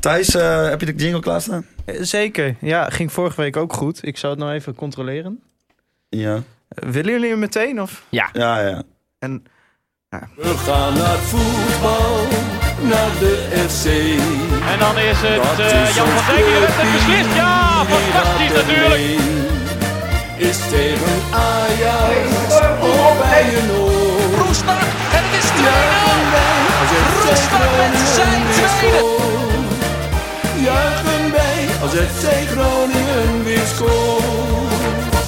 Thijs, eh, heb je de jingle klaarstaan? Eh, Zeker. Ja, ging vorige week ook goed. Ik zou het nou even controleren. Ja. Eh, willen jullie hem meteen? Of? Ja, ja. En We gaan naar het voetbal, naar de FC. En dan is het Dat eh, is Jan ons van Dijk die de wedstrijd clubje, beslist. Ja, die fantastisch dat er natuurlijk. mee Is tegen Ajax of bij een oor. Roestak en het is 2-0. Roestak met zijn tweede. Juichen wij als FC Groningen weer scoort.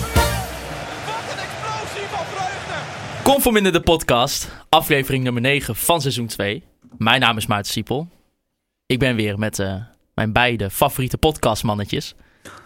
Kom voor minder de podcast, aflevering nummer 9 van seizoen 2. Mijn naam is Maarten Siepel. Ik ben weer met eh, mijn beide favoriete podcastmannetjes.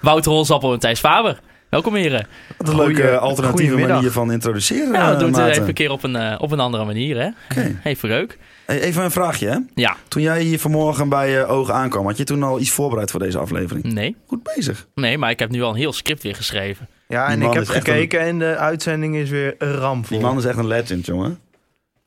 Wouter Holzappel en Thijs Faber. Welkom heren. Wat een leuke Goeie- alternatieve goeiemiddag. manier van introduceren, Nou, we eh, doen het Maarten. even een keer op een, eh, op een andere manier hè. Oké. Even leuk. Hey, Even een vraagje, hè? Ja, Toen jij hier vanmorgen bij eh Oog aankwam, had je toen al iets voorbereid voor deze Hm. aflevering? nee. Goed bezig. Nee, maar ik heb nu al een heel script weer geschreven. ja, en man ik heb is echt gekeken en de uitzending is weer een ramvol. Die man is echt een legend, jongen.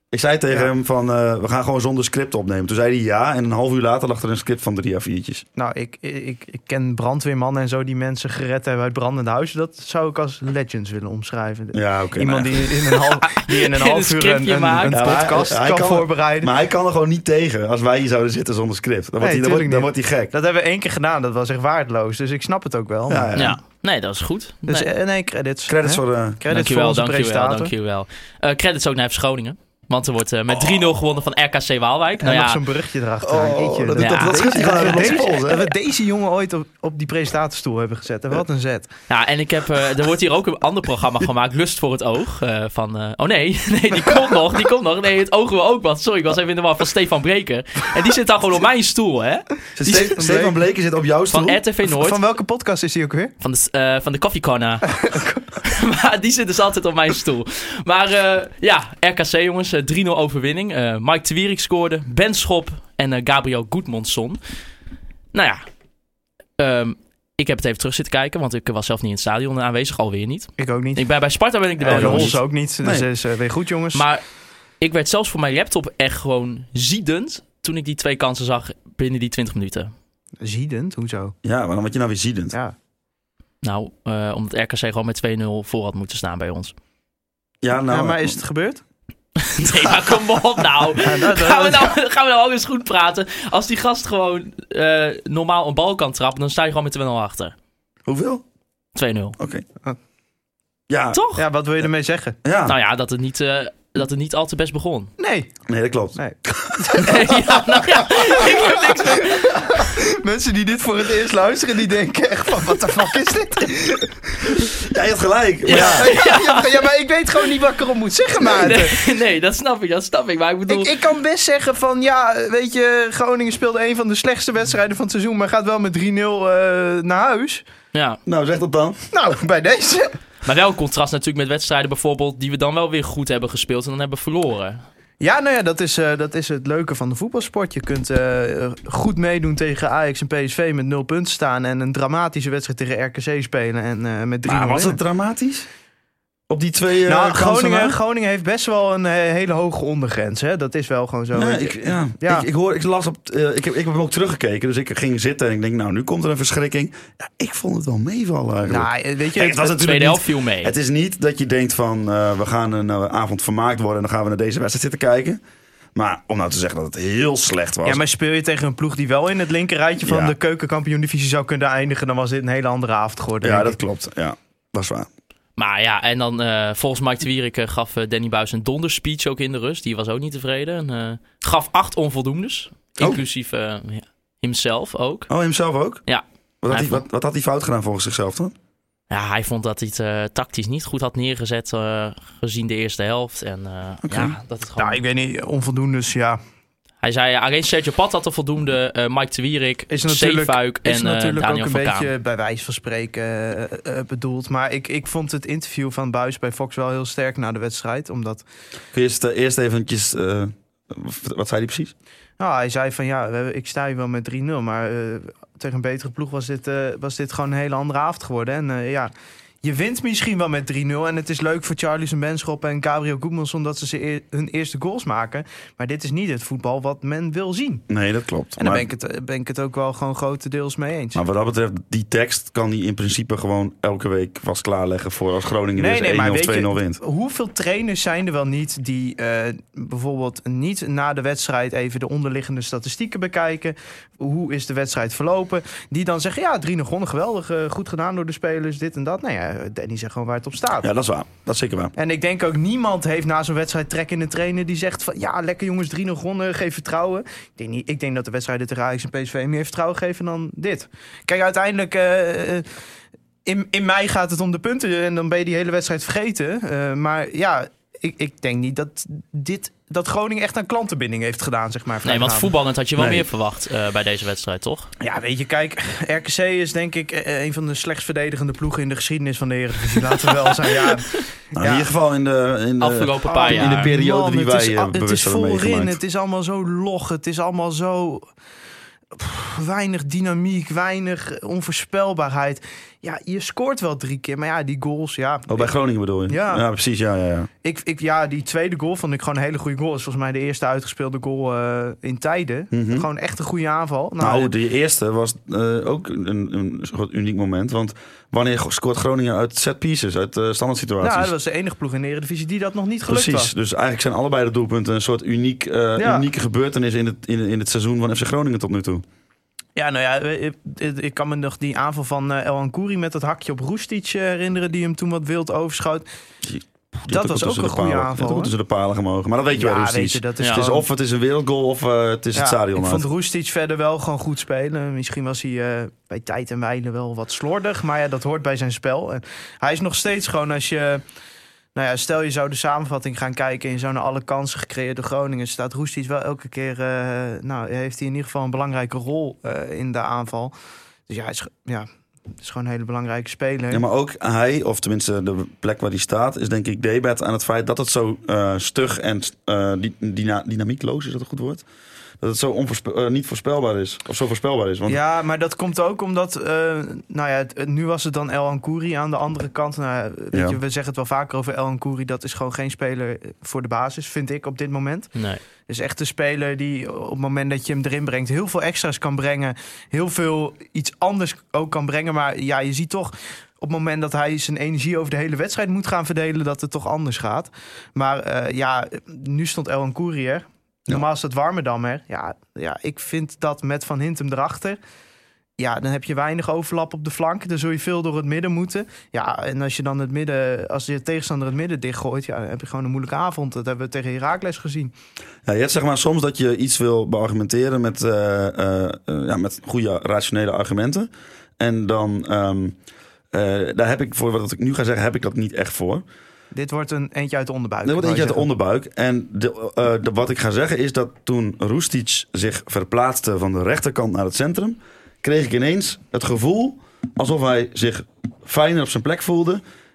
Ik zei tegen Ja. hem van, eh, we gaan gewoon zonder script opnemen. Toen zei hij ja, en een half uur later lag er een script van drie à viertjes. Nou, ik, ik, ik ken brandweermannen en zo die mensen gered hebben uit brandende huizen. Dat zou ik als legends willen omschrijven. Ja, oké. Iemand nou ja. die in een half, die in een Een half uur scriptje een, een, maakt. een Ja, maar hij- podcast hij kan, kan- voorbereiden. Maar hij kan er gewoon niet tegen als wij hier zouden zitten zonder script. Dan wordt, Nee, hij, dan wordt, dan tuurlijk wordt hij gek. Dat hebben we één keer gedaan. Dat was echt waardeloos. Dus ik snap het ook wel. Ja, ja. Ja. Nee, dat is goed. Dus nee. eh, nee, credits. Credits Hè? voor eh, de... credits voor dankjewel, onze dankjewel, presentator. dankjewel. Eh, credits ook naar FC Groningen. Want er wordt eh, met 3-0 gewonnen van RKC Waalwijk. Oh. En Nou nog ja, zo'n berichtje erachter. Oh, dat, dat, Ja. dat schudt hij Dat gewoon uit we, onze deze, pols, hè? dat we deze jongen ooit op, op die presentatiestoel hebben gezet. En Wat een zet. Ja, en ik heb, eh, er wordt hier ook een ander programma gemaakt, Lust voor het Oog. eh, van, eh, oh nee, nee, die komt nog, die komt nog. Nee, het oog wil ook wat. Sorry, ik was even in de war van Stefan Breker. En die zit dan gewoon op mijn stoel, hè? Ste- Ste- Stefan Bleken zit op jouw stoel. Van RTV Noord, Van welke podcast is hij ook weer? van de, eh van de Coffee Corner. maar die zit dus altijd op mijn stoel. Maar eh, ja, RKC jongens, eh, 3-0 overwinning. Eh, Mike Twierik scoorde, Ben Schop en eh, Gabriel Goedmondsson. Nou ja, ehm, ik heb het even terug zitten kijken, want ik was zelf niet in het stadion aanwezig, alweer niet. Ik ook niet. Ik ben bij Sparta ben ik er wel. en jongens. Hols ook niet. Dus Nee. is eh, weer goed, jongens. Maar ik werd zelfs voor mijn laptop echt gewoon ziedend toen ik die twee kansen zag binnen die 20 minuten. Ziedend, hoezo? Ja, maar dan word je nou weer ziedend. Ja, Ja. Nou, eh, omdat RKC gewoon met 2-0 voor had moeten staan bij ons. nou... Ja, maar is het gebeurd? Nee, maar kom op nou. Gaan we nou, gaan we nou ook eens goed praten? Als die gast gewoon eh, normaal een bal kan trappen, dan sta je gewoon met 2-0 achter. 2-0. Hoeveel? Oké. Ah. Ja, Toch? Ja, wat wil je ermee zeggen? ja. Nou ja, dat het niet... eh, dat het niet al te best begon. Nee. nee, dat klopt. nee. ja, nou ja, ik heb niks meer. Mensen die dit voor het eerst luisteren, die denken echt van, wat de fuck is dit? Ja, je hebt gelijk. Maar Ja. ja. Ja, maar ik weet gewoon niet wat ik erop moet zeggen, Maarten. Nee, nee, dat snap ik, dat snap ik. Maar ik bedoel... Ik, ik kan best zeggen van, ja, weet je, Groningen speelde een van de slechtste wedstrijden van het seizoen, maar gaat wel met 3-0 eh, naar huis. Ja. Nou, zeg dat dan. Nou, bij deze. Maar wel een contrast natuurlijk met wedstrijden bijvoorbeeld die we dan wel weer goed hebben gespeeld en dan hebben verloren. Ja, nou ja, dat is, eh, dat is het leuke van de voetbalsport. Je kunt eh, goed meedoen tegen Ajax en PSV met 0 punten staan en een dramatische wedstrijd tegen RKC spelen en eh, met 3-0 Maar was winnen. het dramatisch? Op die twee eh, Nou, kansen Groningen, na? Groningen heeft best wel een eh, hele hoge ondergrens. Hè? Dat is wel gewoon zo. Nee, weet je. ik, ja. Ja. Ik, ik, hoor, ik las op. eh, ik, heb, ik heb hem ook teruggekeken, dus ik ging zitten en ik denk, nou, nu komt er een verschrikking. Ja, ik vond het wel meevallen. Eigenlijk. nou, eh, weet je, Kijk, het was De tweede natuurlijk helft niet, viel mee. het is niet dat je denkt van eh, we gaan een eh, avond vermaakt worden en dan gaan we naar deze wedstrijd zitten kijken. Maar om nou te zeggen dat het heel slecht was. Ja, maar speel je tegen een ploeg die wel in het linkerrijtje van Ja. de keukenkampioen divisie zou kunnen eindigen, dan was dit een hele andere avond geworden. Ja, denk dat ik. klopt. Ja, dat is waar. Maar ja, en dan eh, volgens Mike de Wierik eh, gaf eh, Danny Buis een donderspeech ook in de rust. Die was ook niet tevreden. En, eh, gaf acht onvoldoendes, Oh. inclusief eh, ja, himself ook. Oh, hemzelf ook? Ja. Wat had, Hij hij, vond- wat, wat had hij fout gedaan volgens zichzelf dan? Ja, hij vond dat hij het eh, tactisch niet goed had neergezet eh, gezien de eerste helft. En eh, Oké. ja, dat het gewoon... Nou, ik weet niet, onvoldoende, dus ja. Hij zei eh, alleen Sergio Pat had er voldoende, eh, Mike de Wierik, Is natuurlijk- Zeefuik en Is eh, natuurlijk ook Daniel een van Kaan. beetje bij wijze van spreken eh, eh, bedoeld. Maar ik, ik vond het interview van Buis bij Fox wel heel sterk na de wedstrijd. Omdat Kun je eerst, eh, eerst eventjes... eh, wat zei hij precies? nou, hij zei van ja, we hebben- ik sta hier wel met 3-0. Maar eh, tegen een betere ploeg was dit, eh, was dit gewoon een hele andere avond geworden. En eh, ja, je wint misschien wel met 3-0. En het is leuk voor Charlies en Benschop en Gabriel Goedmanson dat ze, ze eer- hun eerste goals maken. Maar dit is niet het voetbal wat men wil zien. Nee, dat klopt. En daar ben, ik het, eh, ben ik het ook wel gewoon grotendeels mee eens. Maar wat dat betreft, die tekst kan hij in principe gewoon elke week vast klaarleggen voor als Groningen Nee, dus nee, 1-0 maar of 2-0 weet je, wint. hoeveel trainers zijn er wel niet die eh, bijvoorbeeld niet na de wedstrijd even de onderliggende statistieken bekijken? Hoe is de wedstrijd verlopen? Die dan zeggen, ja, 3 gewonnen, geweldig, eh, goed gedaan door de spelers, dit en dat. Nou ja, Danny zegt gewoon waar het op staat. Ja, dat is waar. Dat is zeker waar. En ik denk ook niemand heeft na zo'n wedstrijd trek in de trainer die zegt van ja, lekker jongens, 3-0 gewonnen, geef vertrouwen. Ik denk, niet, ik denk dat de wedstrijden tegen Ajax en PSV meer vertrouwen geven dan dit. Kijk, uiteindelijk eh, eh, in, in mei gaat het om de punten en dan ben je die hele wedstrijd vergeten. Eh, maar ja, ik, ik denk niet dat dit dat Groningen echt aan klantenbinding heeft gedaan, zeg maar. Nee, want vrijdagavond. voetballend had je wel Nee. meer verwacht eh, bij deze wedstrijd, toch? Ja, weet je, kijk, RKC is denk ik eh, een van de slechtst verdedigende ploegen in de geschiedenis van de Eredivisie. Laten we wel zijn, ja. Nou, Ja. In ieder geval in de... In de eh, Afgelopen paar in de jaar. periode die het wij, is, eh, al- Het bewust is hebben voorin, meegemaakt. het is allemaal zo log, het is allemaal zo pff, weinig dynamiek, weinig eh, onvoorspelbaarheid. Ja, je scoort wel drie keer, maar ja, die goals, ja. Oh, bij Groningen bedoel je? Ja. precies. Ja, ja, ja. Ik, ik, ja, die tweede goal vond ik gewoon een hele goede goal. is volgens mij de eerste uitgespeelde goal eh, in tijden. Mhm. Gewoon echt een goede aanval. Nou, eh, de eerste was eh, ook een, een soort uniek moment. Want wanneer scoort Groningen uit set pieces, uit eh standaard situaties? ja, nou, dat was de enige ploeg in de Eredivisie die dat nog niet gelukt Precies, was. dus eigenlijk zijn allebei de doelpunten een soort uniek, eh, Ja. unieke gebeurtenis in het, in, in het seizoen van FC Groningen tot nu toe. Ja, nou ja, ik, ik- ik kan me nog die aanval van eh, El Ankouri met dat hakje op Roestic eh, herinneren... die hem toen wat wild overschoot. Die had was tussen ook de een goede palen- aanval, die had ook hoor. tussen de palen gemogen. Maar dat weet je wel, Ja, Rusties. weet je, dat is Ja. Het is gewoon- of het is een wereldgoal of eh, het is het Ja, stadion. Ik uit. vond Roestic verder wel gewoon goed spelen. Misschien was hij eh, bij tijd en wijle wel wat slordig. Maar ja, dat hoort bij zijn spel. En hij is nog steeds gewoon als je... Nou ja, stel je zou de samenvatting gaan kijken... en je zou naar alle kansen gecreëerde Groningen... staat Roestic wel elke keer... eh, nou, heeft hij in ieder geval een belangrijke rol eh, in de aanval. Dus ja, hij is, ge- ja, is gewoon een hele belangrijke speler. Ja, maar ook hij, of tenminste de plek waar hij staat, is denk ik debet aan het feit dat het zo eh, stug en eh, di- dyna- dynamiekloos is, dat een goed woord? Dat het zo onvoorspe- eh, niet voorspelbaar is. Of zo voorspelbaar is. Want Ja, maar dat komt ook omdat, eh, nou ja, het- het- nu was het dan El Ankouri aan de andere kant. Nou, weet Ja. je, we zeggen het wel vaker over El Ankouri, dat is gewoon geen speler eh, voor de basis, vind ik op dit moment. Nee. Dus echt een speler die op het moment dat je hem erin brengt, heel veel extra's kan brengen, heel veel iets anders ook kan brengen. Maar ja, je ziet toch op het moment dat hij zijn energie over de hele wedstrijd moet gaan verdelen, dat het toch anders gaat. Maar eh, ja, nu stond El Ankouri er. Normaal is dat Warmerdam er. Ja, ja, ik vind dat met Van Hintem erachter. Ja, dan heb je weinig overlap op de flank. Dan zul je veel door het midden moeten. Ja, en als je dan het midden, als je tegenstander het midden dichtgooit, ja, dan heb je gewoon een moeilijke avond. Dat hebben we tegen Herakles gezien. Ja, je hebt zeg maar soms dat je iets wil beargumenteren met, eh, eh, eh, ja, met goede rationele argumenten. En dan, ehm, eh, daar heb ik voor wat ik nu ga zeggen, heb ik dat niet echt voor. Dit wordt een eentje uit de onderbuik. Dat wordt wou eentje je uit de zeggen. onderbuik. En de, eh, de- wat ik ga zeggen is dat toen Roestic zich verplaatste van de rechterkant naar het centrum, kreeg ik ineens het gevoel alsof hij zich fijner op zijn plek voelde.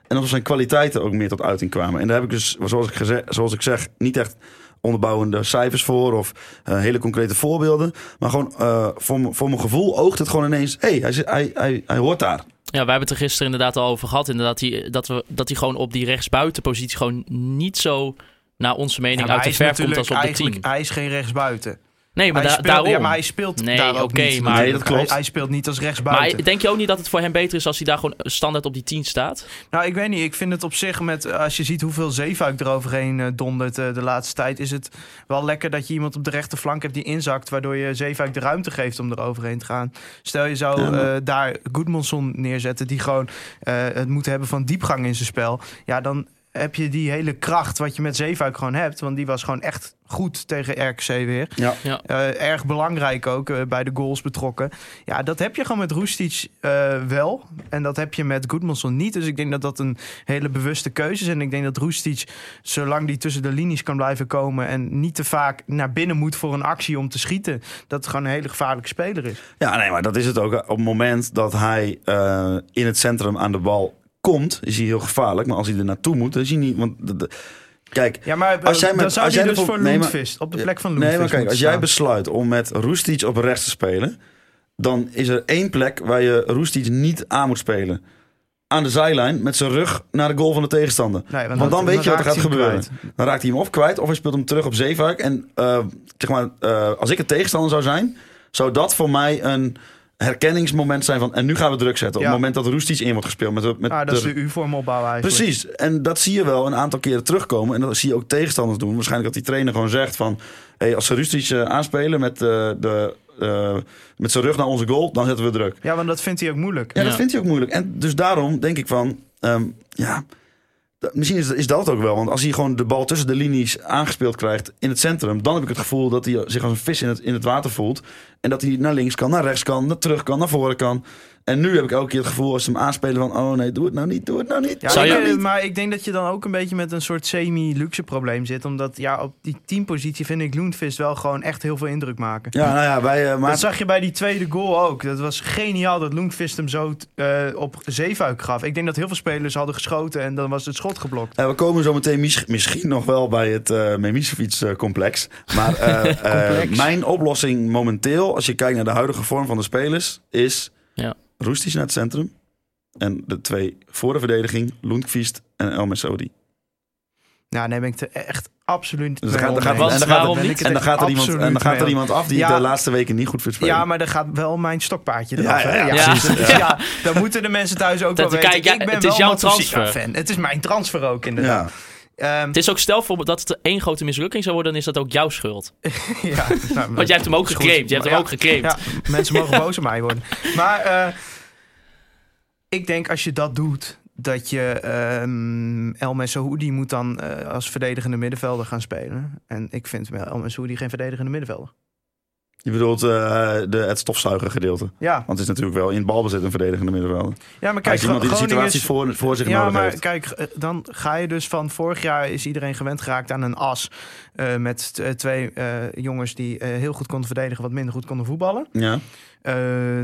En alsof zijn kwaliteiten ook meer tot uiting kwamen. En daar heb ik dus, zoals ik, geze- zoals ik zeg, niet echt onderbouwende cijfers voor of eh, hele concrete voorbeelden. Maar gewoon eh, voor, m- voor mijn gevoel oogt het gewoon ineens. Hé, hey, hij, zit- hij, hij, hij hoort daar. Ja, wij hebben het er gisteren inderdaad al over gehad. Inderdaad, die, dat, we, dat hij gewoon op die rechtsbuitenpositie gewoon niet zo naar onze Ja, mening maar uit hij de is verf komt als op natuurlijk de 10. eigenlijk- Hij is geen rechtsbuiten. Nee, maar, hij da- speelt, daarom. Ja, maar hij speelt Nee, daar ook oké, niet. maar- Nee, dat klopt. Hij, hij speelt niet als Maar rechtsbuiten. denk je ook niet dat het voor hem beter is als hij daar gewoon standaard op die 10 staat? Nou, ik weet niet. Ik vind het op zich met, eh, als je ziet hoeveel zeefuik er overheen eh, dondert eh, de laatste tijd, is het wel lekker dat je iemand op de rechterflank hebt die inzakt, waardoor je zeefuik de ruimte geeft om er overheen te gaan. Stel je zou Ja, maar- eh, daar Goodmanson neerzetten, die gewoon eh, het moet hebben van diepgang in zijn spel. Ja, dan heb je die hele kracht wat je met zeefuik gewoon hebt, want die was gewoon echt goed tegen RKC weer. Ja. Ja. Eh, erg belangrijk ook eh, bij de goals betrokken. Ja, dat heb je gewoon met Roestic eh, wel. En dat heb je met Goodmanson niet. Dus ik denk dat dat een hele bewuste keuze is. En ik denk dat Roestic, zolang die tussen de linies kan blijven komen... en niet te vaak naar binnen moet voor een actie om te schieten... dat het gewoon een hele gevaarlijke speler is. Ja, nee, maar dat is het ook. Op het moment dat hij eh, in het centrum aan de bal komt, is hij heel gevaarlijk. Maar als hij er naartoe moet, dan is hij niet. Want de- de- kijk, Ja, maar Als jij met- dan zou als hij jij dus ervoor- voor nee, maar- Lundqvist, op de plek van nee, Lundqvist maar kijk, moeten als jij staan. besluit om met Roestic op rechts te spelen, dan is er één plek waar je Roestic niet aan moet spelen. aan de zijlijn met zijn rug naar de goal van de tegenstander. Nee, Want dan weet je wat er raakt gaat hij hem gebeuren. kwijt. Dan raakt hij hem of kwijt, of hij speelt hem terug op Zeefuik. En eh, zeg maar, eh, als ik een tegenstander zou zijn, zou dat voor mij een herkenningsmoment zijn van... en nu gaan we druk zetten. Op Ja. het moment dat Roestic in wordt gespeeld. Met, de- met Ah, dat is de- de U-vorm opbouwen eigenlijk. Precies, en dat zie je wel een aantal keren terugkomen. En dat zie je ook tegenstanders doen. Waarschijnlijk dat die trainer gewoon zegt van... Hey, als ze Rustic eh, aanspelen met, eh, de, eh, met zijn rug naar onze goal, dan zetten we druk. Ja, want dat vindt hij ook moeilijk. Ja, Ja. dat vindt hij ook moeilijk. En dus daarom denk ik van, ehm, ja, dat- misschien is, is dat het ook wel. Want als hij gewoon de bal tussen de linies aangespeeld krijgt in het centrum, dan heb ik het gevoel dat hij zich als een vis in het, in het water voelt. En dat hij naar links kan, naar rechts kan, naar terug kan, naar voren kan. En nu heb ik elke keer het gevoel als ze hem aanspelen van, oh nee, doe het nou niet, doe het nou niet. Ja, Zou ik, je- eh, maar ik denk dat je dan ook een beetje met een soort semi-luxe probleem zit. Omdat ja, op die teampositie vind ik Loentvist wel gewoon echt heel veel indruk maken. Ja, nou ja, wij, eh, Dat Maarten, zag je bij die tweede goal ook. Dat was geniaal dat Loentvist hem zo t- eh, op zeefuik gaf. Ik denk dat heel veel spelers hadden geschoten en dan was het schot geblokt. eh, we komen zo meteen mis- misschien nog wel bij het eh Memisevic-complex. Maar eh, eh, mijn oplossing momenteel, als je kijkt naar de huidige vorm van de spelers, is Ja. Roestic naar het centrum. En de twee voor de verdediging, Lundqvist en El Messaoudi. Nou, nee, ben ik er echt Dus absoluut mee dan gaat, dan gaat, oneens. Want en dan gaat, waarom er- niet? en dan gaat er, iemand, en dan gaat er Absoluut iemand af die Ja. ik de laatste weken niet goed vind spelen. Ja, maar daar gaat wel mijn stokpaardje eraf. Ja, ja, hè? ja, precies. dus Ja. ja, dan moeten de mensen thuis ook Dat wel we weten. kijken, ja, ik ben het is wel jouw transfer. fan. Het is mijn transfer ook inderdaad. Ja. Ehm, Het is ook stel voor dat het één grote mislukking zou worden, dan is dat ook jouw schuld. ja, nou, Want jij hebt hem ook is goed. gecreamd. Je hebt hem Ja. ook gecreamd. Ja, mensen mogen boos op mij worden. Maar eh, ik denk als je dat doet, dat je ehm El Messaoudi moet dan eh, als verdedigende middenvelder gaan spelen. En ik vind El Messaoudi geen verdedigende middenvelder. Je bedoelt eh, de, het stofzuigen gedeelte. Ja, Want het is natuurlijk wel in balbezit een verdedigende middenvelder. ja maar Hij kijk, is iemand die de Groningen situaties is... voor, voor zich Ja, nodig maar heeft. kijk, eh, dan ga je dus van vorig jaar is iedereen gewend geraakt aan een as. eh, met eh, twee eh, jongens die eh, heel goed konden verdedigen, wat minder goed konden voetballen. Ja. Eh,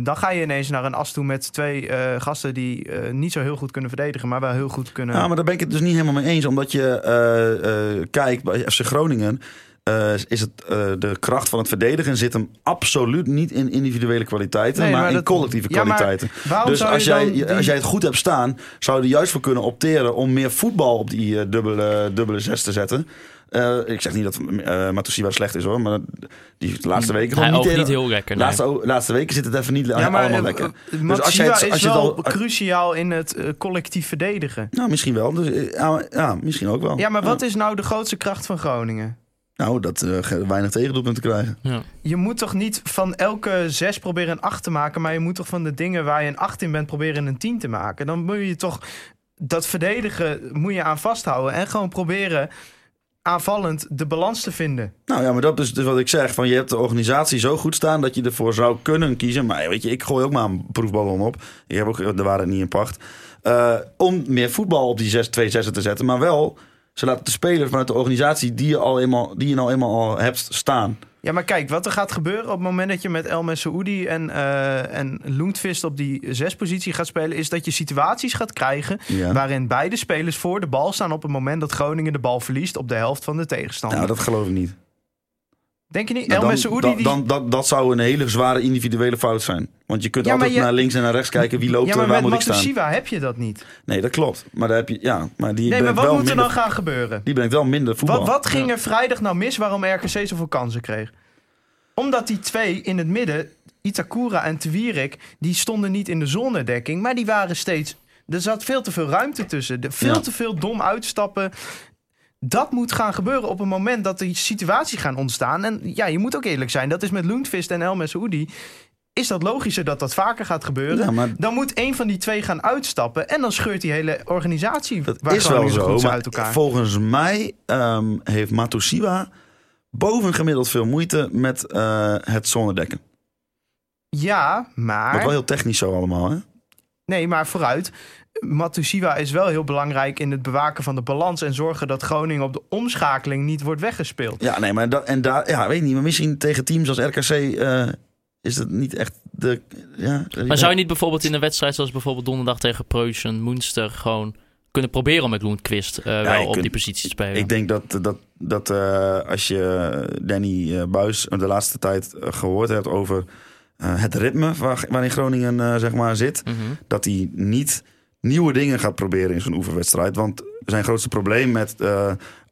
dan ga je ineens naar een as toe met twee eh, gasten die eh, niet zo heel goed kunnen verdedigen, maar wel heel goed kunnen. Ja, maar daar ben ik het dus niet helemaal mee eens. Omdat je eh, eh, kijkt bij FC Groningen. eh, is het, eh, de kracht van het verdedigen zit hem absoluut niet in individuele kwaliteiten, Nee, maar, maar in dat- collectieve Ja, maar kwaliteiten. Waarom Dus zou als je jij, dan die- als jij het goed hebt staan, zou je er juist voor kunnen opteren om meer voetbal op die eh, dubbele, dubbele zes te zetten. Eh, ik zeg niet dat eh Matusiwa slecht is hoor, maar die is de laatste weken Hij gewoon oogt heel- niet heel lekker. nee. laatste, o- laatste weken zit het even niet ja, maar allemaal eh, lekker. eh, Dus als je Matsida het- als is je het wel al- cruciaal in het eh, collectief verdedigen. Nou, misschien wel. Dus, eh, ja, ja, misschien ook wel. Ja, maar wat is nou de grootste kracht van Groningen? Nou, dat eh, ge- weinig tegendoelpunten krijgen. Je moet toch niet van elke zes proberen een acht te maken, maar je moet toch van de dingen waar je een acht in bent proberen een tien te maken. Dan moet je toch dat verdedigen moet je aan vasthouden en gewoon proberen aanvallend de balans te vinden. Nou ja, maar dat is dus wat ik zeg. Van je hebt de organisatie zo goed staan dat je ervoor zou kunnen kiezen. Maar weet je, ik gooi ook maar een proefballon op. Ik heb ook de waarheid niet in pacht. Eh, om meer voetbal op die 6 2 6 te zetten. Maar wel, ze laten de speler vanuit de organisatie die je, al eenmaal, die je nou eenmaal al hebt staan. Ja, maar kijk, wat er gaat gebeuren op het moment dat je met El Messaoudi en, eh en Loentvist op die zespositie gaat spelen, is dat je situaties gaat krijgen Ja. waarin beide spelers voor de bal staan op het moment dat Groningen de bal verliest op de helft van de tegenstander. Nou, dat geloof ik niet. Denk je niet? Nou, El dan, Messaoudi dan, die... dan, dat, dat zou een hele zware individuele fout zijn. Want je kunt Ja, maar altijd je- naar links en naar rechts kijken wie loopt ja, er maar en waar met moet ik staan. Matusiwa heb je dat niet. Nee, dat klopt. Maar daar heb je, ja, maar die Nee, maar brengt wat wel moet er minder, dan gaan gebeuren? die brengt wel minder voetbal. Wat, wat ging er vrijdag nou mis waarom RKC zoveel kansen kreeg? Omdat die twee in het midden, Itakura en Twierik, die stonden niet in de zonnedekking, maar die waren steeds. Er zat veel te veel ruimte tussen. De, veel Ja. te veel dom uitstappen. Dat moet gaan gebeuren op het moment dat er situaties gaan ontstaan. En ja, je moet ook eerlijk zijn. Dat is met Loentvist en El Messaoudi. Is dat logischer dat dat vaker gaat gebeuren? Ja, maar- Dan moet één van die twee gaan uitstappen. En dan scheurt die hele organisatie Dat waar is wel Groningen zo zo, goed is maar uit elkaar. volgens mij ehm, heeft Matusiwa bovengemiddeld veel moeite met eh, het zonnedekken. Ja, Dat is maar... wel heel technisch zo allemaal, hè? Nee, maar vooruit. Matusiwa is wel heel belangrijk in het bewaken van de balans... en zorgen dat Groningen op de omschakeling niet wordt weggespeeld. Ja, nee, maar dat, en daar, ja, weet ik niet, maar misschien tegen teams als RKC eh, is dat niet echt de... Ja, Maar zou je niet bijvoorbeeld in een wedstrijd zoals bijvoorbeeld donderdag tegen Preußen, Münster, gewoon kunnen proberen om met Loenquist eh, wel je op kunt- die positie te spelen? Ik denk dat, dat, dat eh, als je Danny eh, Buis de laatste tijd eh, gehoord hebt over eh, het ritme waar, waarin Groningen eh, zeg maar, zit, Mhm. dat hij niet nieuwe dingen gaat proberen in zo'n oefenwedstrijd. Want zijn grootste probleem met eh,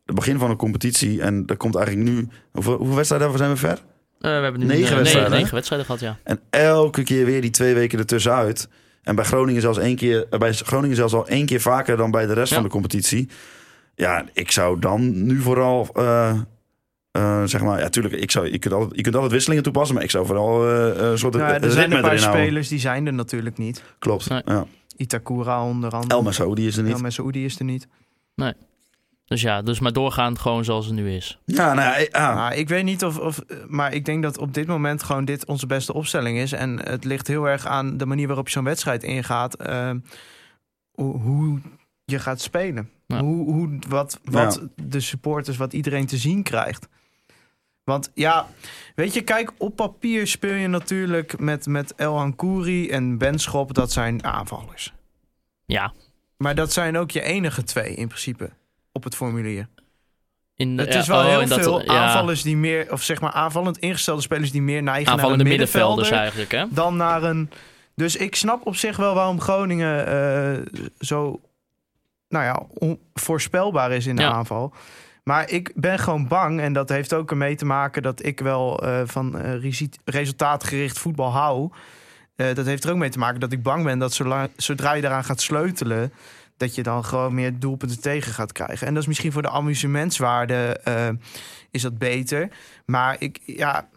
het begin van een competitie. En dat komt eigenlijk nu. Hoeveel, hoeveel wedstrijden hebben we- zijn we ver? we hebben nu Negen eh, wedstrijden, hè? negen wedstrijden gehad, ja. En elke keer weer die twee weken ertussenuit. En bij Groningen zelfs, één keer, eh, bij Groningen zelfs al één keer vaker dan bij de rest Ja. van de competitie. Ja, ik zou dan nu vooral. eh, eh, zeg maar, ja, tuurlijk, ik zou, je, kunt altijd, je kunt altijd wisselingen toepassen, maar ik zou vooral eh, een soort Nou, eh, ja, er zijn ritme een paar erin houden. spelers die zijn er natuurlijk niet. Klopt. Nee. Ja. Itakura onder andere. Elma zo, die is er niet. Elmer Saoudi is er niet. Dus ja, dus maar doorgaan gewoon zoals het nu is. Ja, nou ja, eh, ah. Maar ik weet niet of, of... Maar ik denk dat op dit moment gewoon dit onze beste opstelling is. En het ligt heel erg aan de manier waarop je zo'n wedstrijd ingaat. eh, hoe, hoe je gaat spelen. Ja. Hoe, hoe, wat wat de supporters, wat iedereen te zien krijgt. Want ja, weet je, kijk, op papier speel je natuurlijk met, met Elhan Kouri en Benschop. Dat zijn aanvallers. Ja, Maar dat zijn ook je enige twee in principe op het formulier. in, Het ja, is wel oh, heel en dat- veel ja, aanvallers die meer, of zeg maar aanvallend ingestelde spelers die meer neigen aanvallende naar een middenvelders middenvelder eigenlijk, hè? dan naar een. Dus ik snap op zich wel waarom Groningen eh, zo, nou ja, onvoorspelbaar is in de Ja. aanval. Maar ik ben gewoon bang, en dat heeft ook ermee te maken dat ik wel eh, van eh, resi- resultaatgericht voetbal hou. Eh, dat heeft er ook mee te maken dat ik bang ben dat zolang, zodra je daaraan gaat sleutelen, dat je dan gewoon meer doelpunten tegen gaat krijgen. En dat is misschien voor de amusementswaarde eh, is dat beter. Maar ik, ja,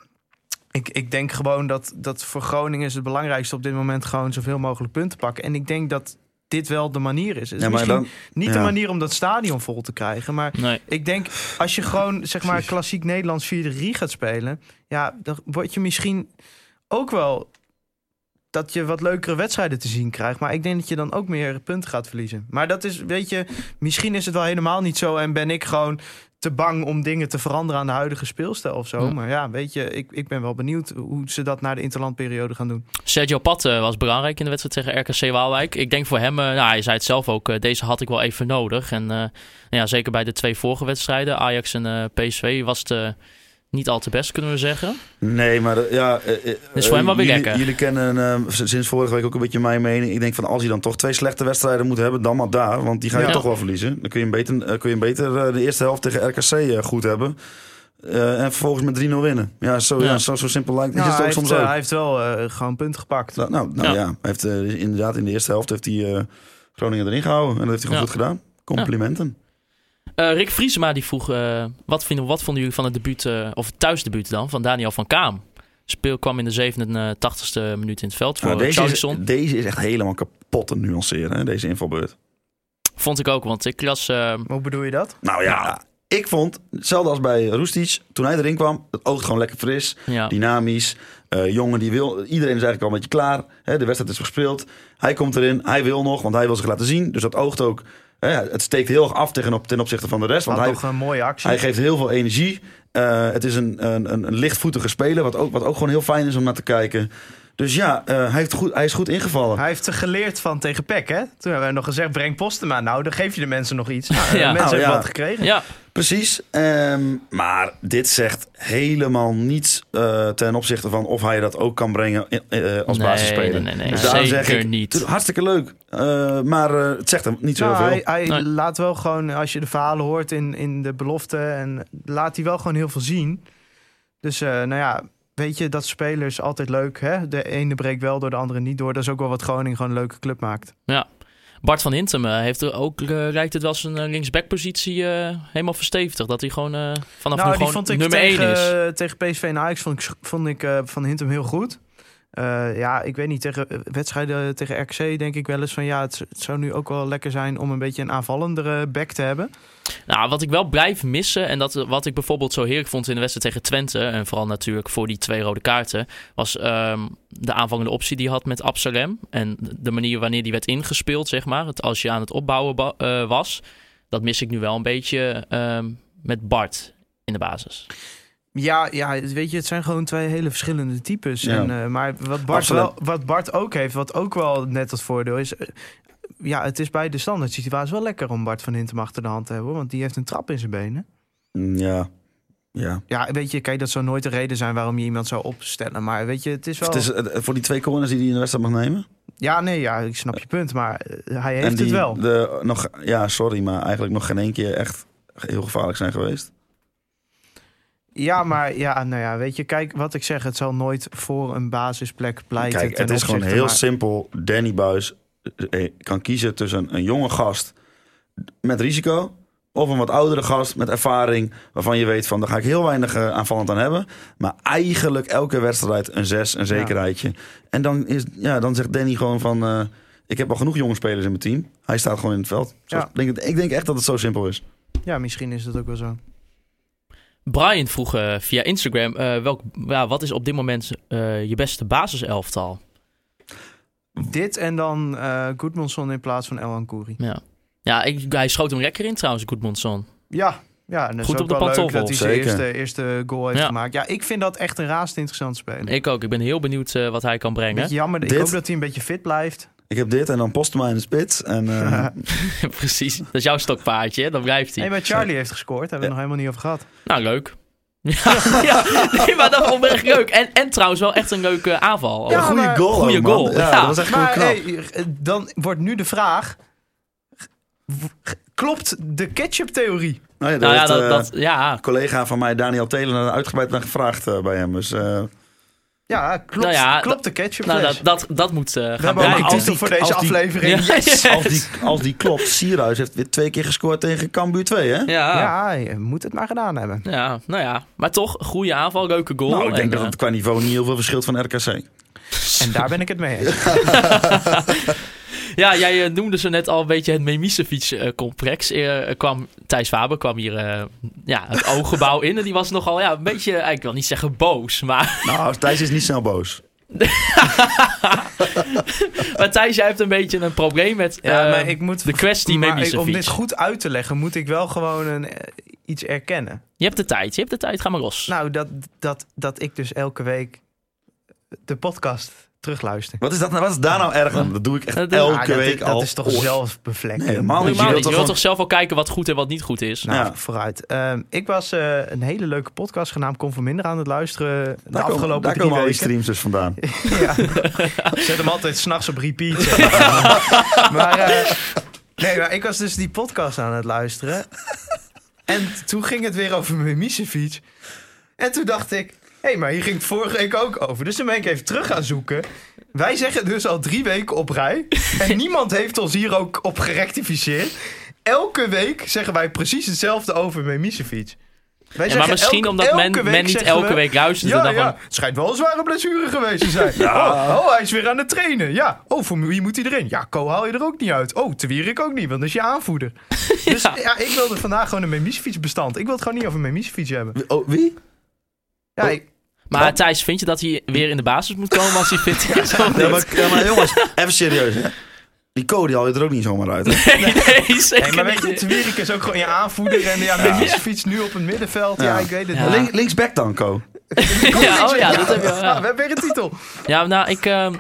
ik, ik denk gewoon dat, dat voor Groningen is het belangrijkste op dit moment gewoon zoveel mogelijk punten pakken. En ik denk dat dit wel de manier is. Het is Ja, maar misschien dan- niet de ja. manier om dat stadion vol te krijgen, maar Nee. ik denk, als je gewoon zeg maar klassiek Nederlands 4-3 gaat spelen, ja, dan word je misschien ook wel dat je wat leukere wedstrijden te zien krijgt. Maar ik denk dat je dan ook meer punten gaat verliezen. Maar dat is, weet je, misschien is het wel helemaal niet zo en ben ik gewoon te bang om dingen te veranderen aan de huidige speelstijl of zo. Ja. Maar ja, weet je, ik, ik ben wel benieuwd hoe ze dat na de interlandperiode gaan doen. Sergio Pat eh, was belangrijk in de wedstrijd tegen RKC Waalwijk. Ik denk voor hem, eh, nou, hij zei het zelf ook, eh, deze had ik wel even nodig. En eh, nou ja, zeker bij de twee vorige wedstrijden, Ajax en eh, PSV, was het eh, niet al te best, kunnen we zeggen. nee, maar eh, ja. eh, eh, Dus voor hem wel weer jullie- lekker. Jullie kennen eh, s- sinds vorige week ook een beetje mijn mening. Ik denk van als hij dan toch twee slechte wedstrijden moet hebben, dan maar daar. Want die ga je Ja. toch wel verliezen. Dan kun je hem beter, eh, kun je hem beter eh, de eerste helft tegen RKC eh, goed hebben. Eh, en vervolgens met 3-0 winnen. Ja, zo, ja. Ja. zo, zo simpel lijkt het. Nou, is het ook hij, heeft, soms eh, ook. hij heeft wel eh, gewoon punten gepakt. Nou, nou, nou Ja. ja. hij heeft eh, inderdaad in de eerste helft heeft hij eh, Groningen erin gehouden. En dat heeft hij gewoon Ja. goed gedaan. Complimenten. Eh, Rick Vriesema die vroeg, eh, wat, vinden, wat vonden jullie van het debuut, eh, of het thuisdebuut dan, van Daniel van Kaam? Speel kwam in de 87e minuut in het veld voor Nou, deze, is, Charlison. deze is echt helemaal kapot te nuanceren, hè, deze invalbeurt. Vond ik ook, want ik las... eh, Hoe bedoel je dat? Nou ja, ik vond, hetzelfde als bij Roestic, toen hij erin kwam, het oogt gewoon lekker fris, ja, dynamisch. eh, jongen die wil, iedereen is eigenlijk al een beetje klaar. Hè, de wedstrijd is gespeeld. Hij komt erin, hij wil nog, want hij wil zich laten zien. Dus dat oogt ook, hè, het steekt heel erg af tegen, op- ten opzichte van de rest. Want Want hij, toch een mooie actie. hij geeft heel veel energie. Eh, het is een, een, een, een lichtvoetige speler, wat ook, wat ook gewoon heel fijn is om naar te kijken. Dus ja, eh, hij, heeft goed, hij is goed ingevallen. Hij heeft er geleerd van tegen Peck, hè? Toen hebben we nog gezegd, breng Postema. Nou, dan geef je de mensen nog iets. Nou, De Ja. mensen Nou, hebben ja. wat gekregen. ja, Precies. ehm, maar dit zegt helemaal niets eh, ten opzichte van of hij dat ook kan brengen in- eh, als Nee, basisspeler. nee, nee, nee. Dus daarom zeg Zeker ik, niet. het- Hartstikke leuk. eh, maar eh, het zegt hem niet zo Nou, heel hij veel. hij Nee. laat wel gewoon, als je de verhalen hoort in, in de belofte... En laat hij wel gewoon heel veel zien. Dus, eh, nou ja, weet je, dat spelers altijd leuk, hè? De ene breekt wel door, de andere niet door. Dat is ook wel wat Groningen gewoon een leuke club maakt. Ja. Bart van Hintem eh, heeft er ook, eh, lijkt het wel zijn eh, linksbackpositie eh, helemaal verstevigd. Dat hij gewoon eh, vanaf nu nou, die gewoon vond ik nummer tegen, eh, 1 is. tegen PSV en Ajax vond ik, vond ik eh, Van Hintem heel goed. Eh, ja, ik weet niet, tegen eh, wedstrijden tegen RC denk ik wel eens van... ja, het, het zou nu ook wel lekker zijn om een beetje een aanvallendere back te hebben. Nou, wat ik wel blijf missen en dat, wat ik bijvoorbeeld zo heerlijk vond in de wedstrijd tegen Twente... en vooral natuurlijk voor die twee rode kaarten... was ehm, de aanvallende optie die hij had met Absalem. En de manier wanneer die werd ingespeeld, zeg maar. Het, als je aan het opbouwen ba- eh, was, dat mis ik nu wel een beetje ehm, met Bart in de basis. Ja, ja, het- weet je, het zijn gewoon twee hele verschillende types. Ja. En, eh, maar wat Bart, Absoluut. wel, wat Bart ook heeft, wat ook wel net het voordeel is... eh, ja, het is bij de standaard situatie wel lekker om Bart van Hintem achter de hand te hebben... hoor, want die heeft een trap in zijn benen. Mm, Ja. ja. Ja, weet je, kijk, dat zou nooit de reden zijn waarom je iemand zou opstellen. Maar weet je, het is wel... Het is, eh, voor die twee corners die hij in de wedstrijd mag nemen. Ja, nee, ja, ik snap je punt. Maar eh, hij heeft en die, het wel. De, nog, ja, sorry, maar eigenlijk nog geen één keer echt heel gevaarlijk zijn geweest. Ja, maar ja, nou ja, weet je, kijk wat ik zeg. Het zal nooit voor een basisplek pleiten. Kijk, ten het is gewoon opzichte, heel maar- simpel. Danny Buis eh, kan kiezen tussen een jonge gast met risico. Of een wat oudere gast met ervaring. Waarvan je weet van daar ga ik heel weinig eh, aanvallend aan hebben. Maar eigenlijk elke wedstrijd een zes, een zekerheidje. En dan, is, ja, dan zegt Danny gewoon van. eh, ik heb al genoeg jonge spelers in mijn team. Hij staat gewoon in het veld. Zo- Ja. ik denk het- ik denk echt dat het zo simpel is. Ja, misschien is dat ook wel zo. Brian vroeg eh, via Instagram, eh, welk, ja, wat is op dit moment eh, je beste basiselftal? Dit en dan eh Goodmanson in plaats van El Ancoury. Ja, ja ik, hij schoot hem lekker in trouwens, Goedmondson. Ja, ja en dat Goed is op ook wel de leuk pantoffel, dat hij zijn zeker. eerste, eerste goal heeft Ja. gemaakt. Ja, ik vind dat echt een raast interessant speler. Ik ook, ik ben heel benieuwd eh, wat hij kan brengen. Beetje jammer. Ik Dit- hoop dat hij een beetje fit blijft. Ik heb dit en dan Postma in de spits. En, eh, Precies, dat is jouw stokpaardje, hè? dan blijft hij. Nee, maar Charlie heeft gescoord. Daar hebben we het nog helemaal niet over gehad. Nou, leuk. Ja, ja, nee, maar dat vond ik echt leuk. En, en trouwens wel echt een leuke aanval. een Ja, goede maar- goal. Goeie ook, man. goal, Ja, ja. dat was echt heel Maar knap. hey, eh, dan wordt nu de vraag... w- Klopt de ketchup-theorie? Nou ja, daar Nou ja, heeft, dat, eh, dat, ja. Een collega van mij, Daniel Telen, had er uitgebreid naar gevraagd eh, bij hem. Dus, eh, Ja, klopt, Nou ja, klopt de ketchup Nou, dat, dat, dat moet eh, We gaan hebben ook blijken. een titel voor deze als die- aflevering. Ja, als, die, als die klopt, Sierhuis heeft weer twee keer gescoord tegen Cambuur 2, hè? Ja. Ja. Ja, je moet het maar gedaan hebben. nou ja. Maar toch, goede aanval, leuke goal. Nou, ik denk En, dat eh, het qua niveau niet heel veel verschilt van RKC. En daar ben ik het mee eens. Ja, jij eh, noemde ze net al een beetje het eh, Memisevic-complex. kwam Thijs Faber kwam hier eh, ja, het ooggebouw in. En die was nogal ja, een beetje, eh, ik wil niet zeggen boos. Maar, Nou, Thijs is niet snel boos. maar Thijs, jij hebt een beetje een probleem met Ja, eh, maar ik moet, de kwestie maar ik- om Memisevic. dit goed uit te leggen, moet ik wel gewoon een, eh, iets erkennen. Je hebt de tijd, je hebt de tijd, ga maar los. Nou, dat, dat, dat ik dus elke week de podcast terugluister. Wat is, dat, nou- wat is daar nou erg aan? Dat doe ik echt Dat- elke Ah, dat, week dat al. is toch Oh, zelfbevlekking? Nee, helemaal niet. Normaal je wilt niet. Je toch wilt gewoon- toch zelf wel kijken wat goed en wat niet goed is. Nou, Ja. vooruit. Ehm, ik was eh, een hele leuke podcast genaamd Kom voor Minder aan het luisteren de Daar komen, afgelopen daar drie komen al die weken. streams dus vandaan. Ja. Zet hem altijd s'nachts op repeat. zeg maar. maar, eh, nee, maar ik was dus die podcast aan het luisteren. En toen ging het weer over mijn Misefiets. En toen dacht ik, hé, maar hier ging het vorige week ook over. Dus toen ben ik even terug gaan zoeken. Wij zeggen dus al drie weken op rij. En niemand heeft ons hier ook op gerectificeerd. Elke week zeggen wij precies hetzelfde over Memisevic. Wij Ja, maar zeggen misschien elke- omdat men, elke week men niet zeggen we- elke week luistert. en ja, dan ja. van- Het schijnt wel een zware blessure geweest te zijn. oh, oh, hij is weer aan het trainen. Ja. Oh, voor wie moet hij erin? Ja, Ko haal je er ook niet uit. Oh, Tewierik ook niet, want dat is je aanvoerder. Dus Ja. ja, ik wilde vandaag gewoon een Memisevic bestand. Ik wil het gewoon niet over Memisevic hebben. Wie- Oh, wie? Ja, Oh. ik- Maar Thijs, vind je dat hij weer in de basis moet komen als hij fit is? Of Nee, niet? maar, ja, maar jongens, even serieus, hè? Die code haal je er ook niet zomaar uit. hè? Nee, nee, zeker Hey, maar weet je, niet. Tewierik is ook gewoon je aanvoerder. En ja, Memisevic nu op het middenveld. Ja, Ja. ik weet het Ja. niet. Link- linksback dan, Co. Ja, oh ja, dat heb je wel, Ah, ja. we hebben weer een titel. Ja, nou, ik, ehm,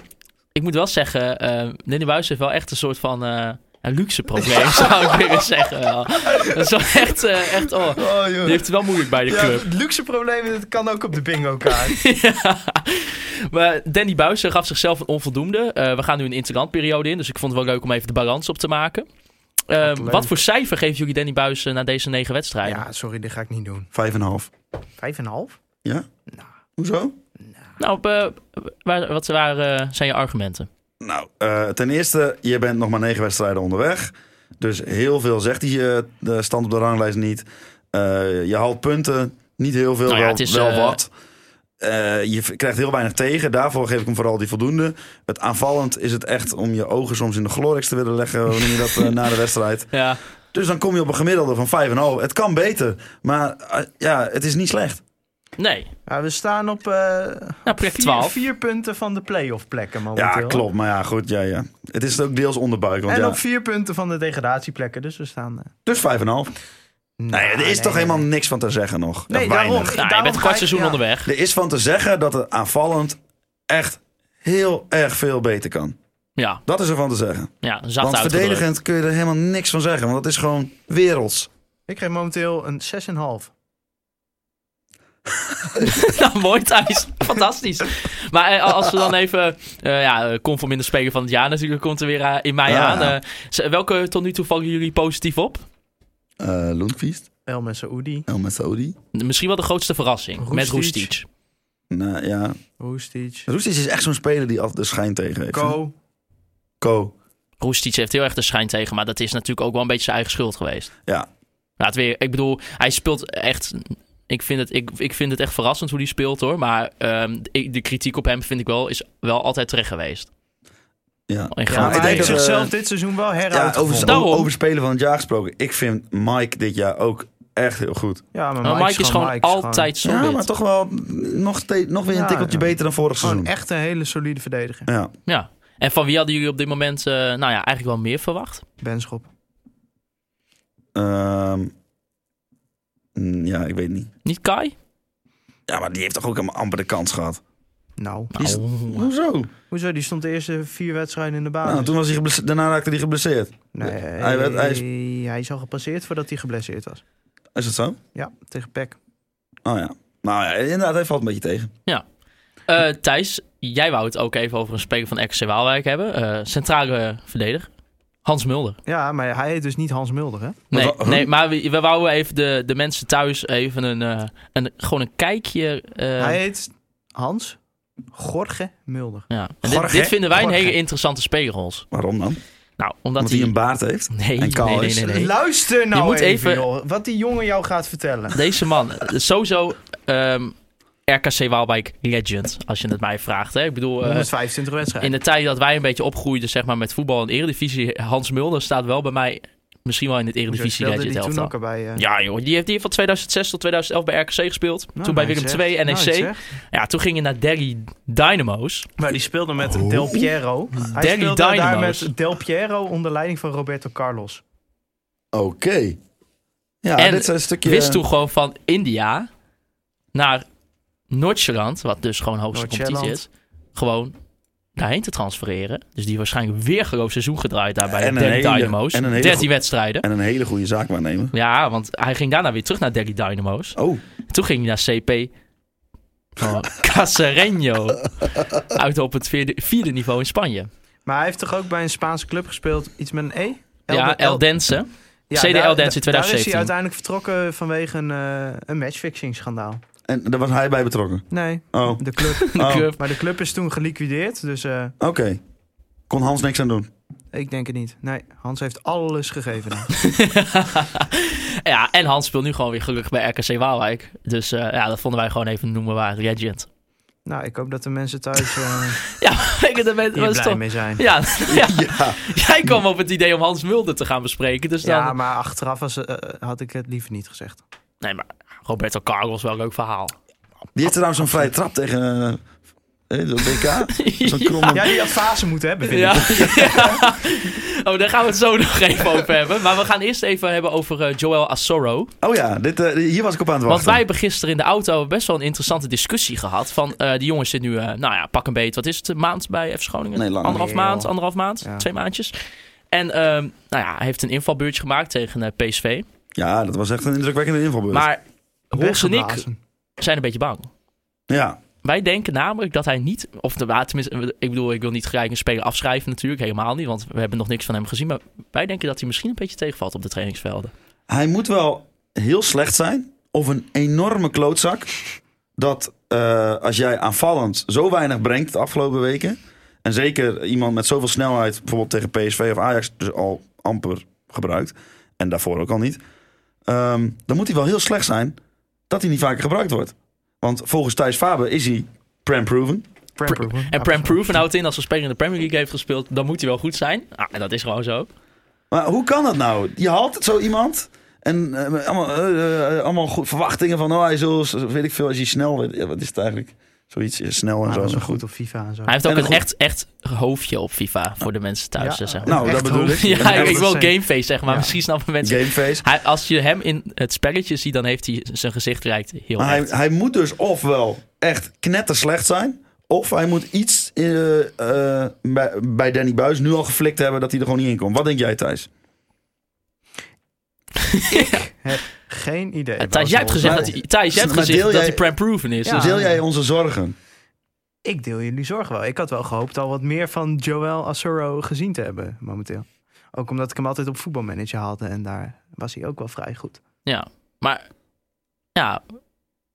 ik moet wel zeggen, ehm Danny Buijs heeft wel echt een soort van eh, een luxe probleem, zou ik willen zeggen. wel. Dat is wel echt, eh, echt oh, Oh, joh. die heeft het wel moeilijk bij de Ja, club. het luxe probleem dat kan ook op de bingo kaart. Maar Danny Buijs eh, gaf zichzelf een onvoldoende. Eh, we gaan nu een interlandperiode in, dus ik vond het wel leuk om even de balans op te maken. Eh, leuk. wat voor cijfer geven jullie Danny Buijs eh, na deze negen wedstrijden? Ja, sorry, dit ga ik niet doen. Vijf en een half. Vijf en een half? Ja? Hoezo? Nou, op, eh, waar, wat waar, eh, zijn je argumenten? Nou, eh, ten eerste, je bent nog maar negen wedstrijden onderweg. Dus heel veel zegt hij je de stand op de ranglijst niet. Eh, je haalt punten, niet heel veel, Nou ja, wel, het is, wel eh, wat. Eh, je v- krijgt heel weinig tegen, daarvoor geef ik hem vooral die voldoende. Het aanvallend is het echt om je ogen soms in de glorix te willen leggen... hoe noem je dat, eh, na de wedstrijd. Ja, Dus dan kom je op een gemiddelde van 5,5. Het kan beter, maar eh, ja, het is niet slecht. nee. Ja, we staan op eh, Nou, plek vier, 12. vier punten van de play-off plekken momenteel. Ja, klopt, maar ja, goed, ja, ja. Het is ook deels onderbuik, want En ja, op vier punten van de degradatieplekken. Dus we staan... eh, dus 5,5. Nee, er is nou, toch helemaal niks van te zeggen nog. Nee, Of daarom. weinig. Nou, Ja, je daarom bent een ga ik- kwart seizoen ja. onderweg. Er is van te zeggen dat het aanvallend echt heel erg veel beter kan. Ja, Dat is er van te zeggen. ja zacht Want uitgedrukt. verdedigend kun je er helemaal niks van zeggen. Want dat is gewoon werelds. Ik geef momenteel een 6,5. Nou, mooi Thijs. fantastisch. Maar eh, als we dan even... eh ja, conform in de speler van het jaar natuurlijk komt er weer eh, in mei Ja, aan. ja. Eh, z- welke tot nu toe vallen jullie positief op? Eh Lundqvist, El Saoudi, El Saudi. Misschien wel de grootste verrassing met Roestic. Roestic. Nou ja, Roestic, Roestic is echt zo'n speler die altijd de schijn tegen heeft. hè? Ko. Ko. Roestic heeft heel erg de schijn tegen, maar dat is natuurlijk ook wel een beetje zijn eigen schuld geweest. Ja. Laat weer, ik bedoel, hij speelt echt. Ik vind het, ik, ik vind het echt verrassend hoe hij speelt hoor. Maar ehm, de, de kritiek op hem vind ik wel, is wel altijd terecht geweest. Ja. In Ja, maar grote ik hij denk heeft dat, delen. zichzelf eh, dit seizoen wel Ja, over, heruitgevonden. Daarom. over, over spelen van het jaar gesproken. Ik vind Mike dit jaar ook echt heel goed. Ja, maar Maar Nou, Mike, is gewoon Mike is gewoon- altijd solid. Ja, maar toch wel nog, steeds, nog weer een Ja, tikkeltje ja. beter dan vorig Gewoon seizoen. echt een hele solide verdediger. Ja. Ja. En van wie hadden jullie op dit moment, eh, nou ja, eigenlijk wel meer verwacht? Benschop. Ehm, mm, ja, ik weet niet. Niet Kai? Ja, maar die heeft toch ook helemaal amper de kans gehad. Nou, is- Nou, Hoezo? hoezo? Die stond de eerste vier wedstrijden in de basis. Nou, toen was hij geblesse- daarna raakte hij geblesseerd. nee, hij werd- hij is- hij is al gepasseerd voordat hij geblesseerd was. Is dat zo? Ja, tegen Peck. Oh ja. Nou ja, inderdaad, hij valt een beetje tegen. eh, Thijs, jij wou het ook even over een speler van RKC Waalwijk hebben. Eh, centrale verdediger. Hans Mulder. Ja, maar hij heet dus niet Hans Mulder, hè? Wat Nee, wa- huh? nee maar we, we wouden even de, de mensen thuis even een, eh, een, gewoon een kijkje. eh, hij heet Hans Gorge Mulder. ja. En dit, Gorg, dit hè? vinden wij een Gorg. hele interessante speelrols. Waarom dan? Nou, omdat Omdat hij hij... een baard heeft? Nee, nee, en kaal nee, nee, is. nee, nee. Luister nou Je moet even, even- joh, wat die jongen jou gaat vertellen. Deze man, eh, sowieso ehm, RKC Waalwijk legend, als je het mij vraagt. Hè? Ik bedoel, eh, 125 wedstrijden. in de tijd dat wij een beetje opgroeiden zeg maar, met voetbal en eredivisie... Hans Mulder staat wel bij mij misschien wel in het Hoezo, eredivisie speelde legend die toen elftal. ook al bij... eh, Ja joh, die heeft, die heeft van 2006 tot 2011 bij RKC gespeeld. nou, toen bij nou, Willem E zeg. 2, Nou, NEC. zeg. Ja, toen ging je naar Derry Dynamo's. maar die speelde met Del Piero. Hij Oh. Danny speelde daar Dynamo's. met Del Piero onder leiding van Roberto Carlos. Oké. Ja, En dit is een stukje... Wist toen gewoon van India naar Noord-Zeeland, wat dus gewoon hoogste competitie is, Noord-Zeeland. gewoon daarheen te transfereren. Dus die waarschijnlijk weer groot seizoen gedraaid daar bij En een Derry hele- Dynamo's. en een hele 13 go- wedstrijden. En een hele goede zaak waarnemen. Ja, want hij ging daarna weer terug naar Derry Dynamo's. Oh, Toen ging hij naar CP oh, Casareño. Uit op het vierde, vierde niveau in Spanje. Maar hij heeft toch ook bij een Spaanse club gespeeld? Iets met een E? ja, El- Eldense. Ja, CDL daar- Dance in Daar is 2017. hij uiteindelijk vertrokken vanwege een, eh, een matchfixing schandaal. en daar was hij bij betrokken. Nee, Oh, de club. oh, club. maar de club is toen geliquideerd, dus eh, oké. Kon Hans niks aan doen. ik denk het niet. Nee, Hans heeft alles gegeven. daar. ja, en Hans speelt nu gewoon weer gelukkig bij RKC Waalwijk. Dus eh, ja, dat vonden wij gewoon even noemen waar legend. nou, ik hoop dat de mensen thuis eh Ja, ik dat ben, hier was blij toch... mee zijn. Ja, ja. Ja. jij kwam op het idee om Hans Mulder te gaan bespreken. Dus dan... Ja, maar achteraf was, eh, had ik het liever niet gezegd. Nee, maar Roberto Carlos, wel een leuk verhaal. Die heeft trouwens zo'n vrije trap tegen... eh, eh, dat BK? Zo'n kromme... Ja, die had fase moeten hebben, vind Ja. ik. Ja. Oh, daar gaan we het zo nog even over hebben. Maar we gaan eerst even hebben over eh, Joel Asoro. Oh ja, dit, eh, hier was ik op aan het Want wachten. wij hebben gisteren in de auto best wel een interessante discussie gehad. Van eh, die jongen zit nu, eh, nou ja, pak een beet. Wat is het, een maand bij F. Groningen? Nee, langer. anderhalf Nee, maand, joh. anderhalf maand, Ja. twee maandjes. En ehm, nou ja, hij heeft een invalbeurtje gemaakt tegen eh, PSV. Ja, dat was echt een indrukwekkende invalbeurt. Maar Horst en ik Weggeblazen. zijn een beetje bang. Ja, Wij denken namelijk dat hij niet, of de- ah, tenminste, ik bedoel, ik wil niet gelijk een speler afschrijven natuurlijk, helemaal niet, want we hebben nog niks van hem gezien. Maar wij denken dat hij misschien een beetje tegenvalt op de trainingsvelden. hij moet wel heel slecht zijn. Of een enorme klootzak. Dat eh, als jij aanvallend zo weinig brengt de afgelopen weken. En zeker iemand met zoveel snelheid, bijvoorbeeld tegen PSV of Ajax, dus al amper gebruikt. En daarvoor ook al niet. ehm, dan moet hij wel heel slecht zijn dat hij niet vaker gebruikt wordt. Want volgens Thijs Faber is hij prem-proven. Prem Proeven. En Prem Proven houdt in, als een speler in de Premier League heeft gespeeld, dan moet hij wel goed zijn. Ah, en dat is gewoon zo. Maar hoe kan dat nou? Je haalt zo iemand en eh, allemaal, eh, eh, allemaal goed, verwachtingen van, oh, hij zal, weet ik veel, als hij snel, weet- ja, wat is het eigenlijk? Zoiets, eh, snel en Maar zo. Ah, dat is en wel goed op FIFA en zo. Hij heeft ook En een een goed- echt, echt hoofdje op FIFA voor de mensen thuis. Ja, eh, zeg maar. Nou, Echt dat bedoel ik. hoog. ja, ik, ik wil dat is- gameface zeg maar. Ja. Misschien snappen mensen. Gameface. Hij, als je hem in het spelletje ziet, dan heeft hij zijn gezicht lijkt heel Maar hij, echt. hij moet dus ofwel echt knetterslecht zijn, of hij moet iets eh, eh, bij, bij Danny Buis nu al geflikt hebben dat hij er gewoon niet in komt. Wat denk jij, Thijs? Geen idee. Eh, Thijs, jij hebt gezegd, Maar- dat hij, Thijs, jij hebt maar nou? gezegd deel dat jij- hij prem-proven is. Ja. Dus- Deel jij onze zorgen? Ik deel jullie zorg wel. Ik had wel gehoopt al wat meer van Joel Asoro gezien te hebben momenteel. Ook omdat ik hem altijd op voetbalmanager haalde en daar was hij ook wel vrij goed. Ja, maar ja,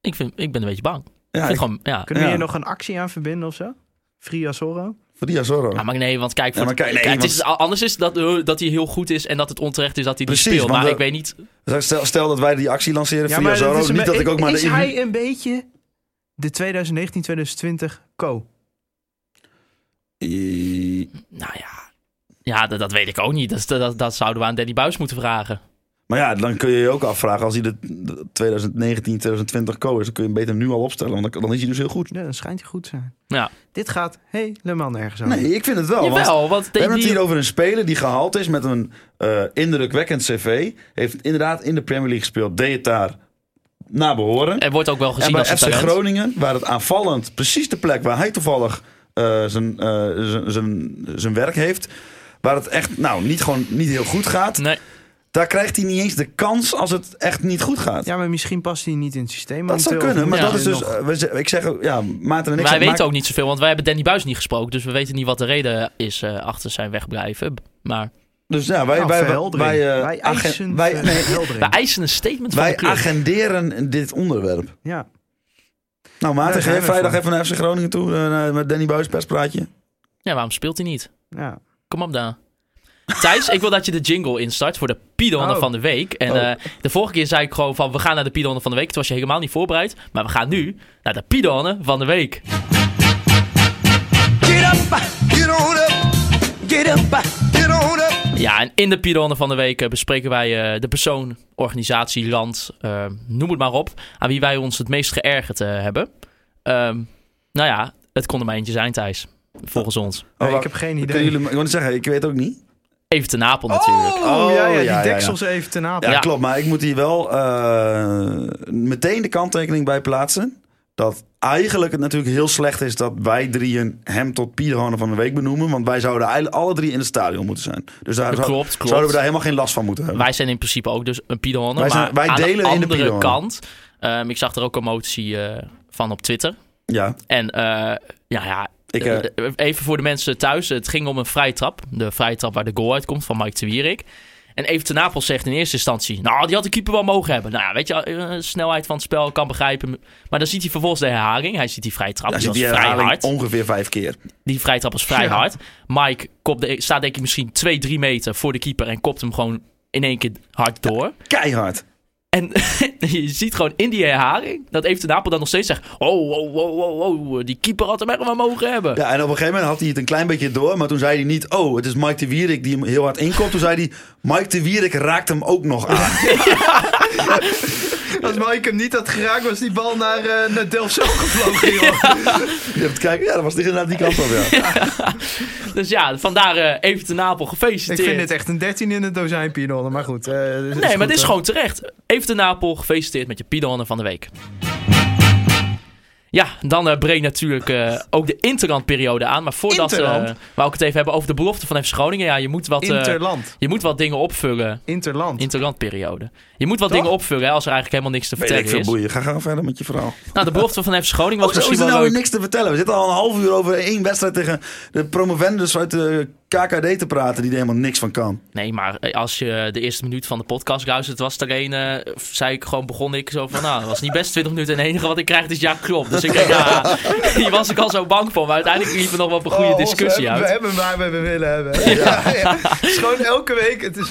ik, vind, ik ben een beetje bang. Ja, ik vind ik, gewoon, ja. Kunnen we Ja. hier nog een actie aan verbinden of zo? Free Asoro? voor die Azorro. Ja, maar nee, want kijk, voor Ja, maar kijk, nee, kijk, het want- is, anders is dat, eh, dat hij heel goed is en dat het onterecht is dat hij die Precies, speelt. want Maar we- ik weet niet. Stel, stel dat wij die actie lanceren via dat Azorro. is een Niet be- dat ik ook maar Is de hij een beetje de 2019-2020 co? I- Nou ja, ja dat, dat weet ik ook niet. Dat, is- dat, dat zouden we aan Danny Buis moeten vragen. Maar ja, dan kun je je ook afvragen, als hij de de 2019, 2020 co is, dan kun je hem beter nu al opstellen, want dan, dan is hij dus heel goed. Ja, dan schijnt hij goed te zijn. Ja. Dit gaat helemaal nergens over. Nee, ik vind het wel. want- Jawel, want We die, hebben het die- hier over een speler die gehaald is met een eh, indrukwekkend cv. Heeft inderdaad in de Premier League gespeeld. Deed het daar naar behoren. er wordt ook wel En gezien bij Eh, als een FC talent. Groningen, waar het aanvallend precies de plek waar hij toevallig eh, zijn, eh, zijn, zijn, zijn werk heeft. Waar het echt nou, niet, gewoon, niet heel goed gaat. Nee. Daar krijgt hij niet eens de kans als het echt niet goed gaat. Ja, maar misschien past hij niet in het systeem. dat zou momenteel, of kunnen, maar ja, dat is dus. nog. Nou, eh, we ze- ik zeg, ook, ja, Maarten en ik. Wij zeggen, weten maak- ook niet zoveel, want wij hebben Danny Buis niet gesproken. Dus we weten niet wat de reden is eh, achter zijn wegblijven. Maar Dus ja, wij, Nou, wij, wij, verheldering. eh, Wij eh, agen- eisen wij, nee, verheldering. wij eisen een statement van wij de club. agenderen dit onderwerp. Ja. Nou, Maarten, ga Daar zijn jij we vrijdag voor. even naar FC Groningen toe eh, naar- met Danny Buis perspraatje? Ja, waarom speelt hij niet? ja. Kom op daar. Thijs, ik wil dat je de jingle instart voor de Pidonner Oh. van de week. En Oh. eh, de vorige keer zei ik gewoon van, we gaan naar de Pidonner van de week. Toen was je helemaal niet voorbereid. Maar we gaan nu naar de Pidonner van de week. Get up, get on up, get up, get on up. Ja, en in de Pidonner van de week eh, bespreken wij eh, de persoon, organisatie, land, eh, noem het maar op. Aan wie wij ons het meest geërgerd eh, hebben. Ehm, nou ja, het kon er maar eentje zijn, Thijs. Volgens ons. Oh, ik wacht. heb geen Kunnen idee. jullie, ik wil niet zeggen, ik weet ook niet. Even te Napel natuurlijk. Oh, ja, ja, die ja, ja, deksels even ten apel. Ja, Ja. klopt. Maar ik moet hier wel eh, meteen de kanttekening bij plaatsen. Dat eigenlijk het natuurlijk heel slecht is dat wij drieën hem tot Pierhoorn van de week benoemen. Want wij zouden eigenlijk alle drie in het stadion moeten zijn. Dus daar Dat zou- klopt, klopt. zouden we daar helemaal geen last van moeten hebben. Wij zijn in principe ook dus een pidonner. Wij zijn- maar wij aan delen de in de andere pidonner. kant. ehm, ik zag er ook een motie eh, van op Twitter. Ja, En eh, ja, ja ik, eh, eh, even voor de mensen thuis. Het ging om een vrijtrap. De vrijtrap waar de goal uitkomt van Mike de Wierik. En Even ten Napels zegt in eerste instantie... Nou, die had de keeper wel mogen hebben. Nou ja, weet je, eh, snelheid van het spel kan begrijpen. Maar dan ziet hij vervolgens de herhaling. Hij ziet die vrijtrap. daar Die zit was die vrij herhaling hard. ongeveer vijf keer. Die vrijtrap was vrij Ja. hard. Mike kopt de, staat denk ik misschien 2, 3 meter voor de keeper... en kopt hem gewoon in één keer hard door. Keihard. En je ziet gewoon in die herhaling dat Even de Napel dan nog steeds zegt: Oh, oh, oh, oh, oh, die keeper had hem echt wel mogen hebben. Ja, en op een gegeven moment had hij het een klein beetje door. Maar toen zei hij niet, oh, het is Mike de Wierik die hem heel hard inkomt. Toen zei hij, Mike de Wierik raakt hem ook nog aan. Als Mike hem niet had geraakt, was die bal naar, eh naar Delfzijl gevlogen. joh. Je hebt kijken, ja, dat was inderdaad die kant op, ja. Dus ja, vandaar eh Even de Napel Ik gefeliciteerd. vind dit echt een 13 in het dozijn, Pinolle. Maar goed. eh, is nee, maar goed, dit is hè? gewoon terecht. Even de Napel gefeliciteerd met je Pidonner van de week. Ja, dan eh breekt natuurlijk eh, ook de interlandperiode aan. Maar voordat eh, Interland? wou ik het even hebben over de belofte van FC Groningen. Ja, je moet wat, eh, Interland. je moet wat dingen opvullen. Interland. Interlandperiode. Je moet wat Toch? dingen opvullen hè, als er eigenlijk helemaal niks te Weet ik vertellen veel is. boeien. Ga gewoon verder met je verhaal. Nou, de belofte van FC Groningen Oh, was zo misschien is er wel nou weer leuk. niks te vertellen. We zitten al een half uur over één wedstrijd tegen de promovendus uit de KKD te praten die er helemaal niks van kan. Nee, maar eh, als je de eerste minuut van de podcast luistert, was er een, eh, zei ik gewoon, begon ik zo van, nou, dat was niet best 20 minuten en het enige wat ik krijg is Jaap Klop. Dus ik denk, ja, hier was ik al zo bang voor, maar uiteindelijk liep er nog wel op een goede Oh, ons, discussie we, uit. We hebben waar we willen hebben. Ja. ja. Het is gewoon elke week. Het is,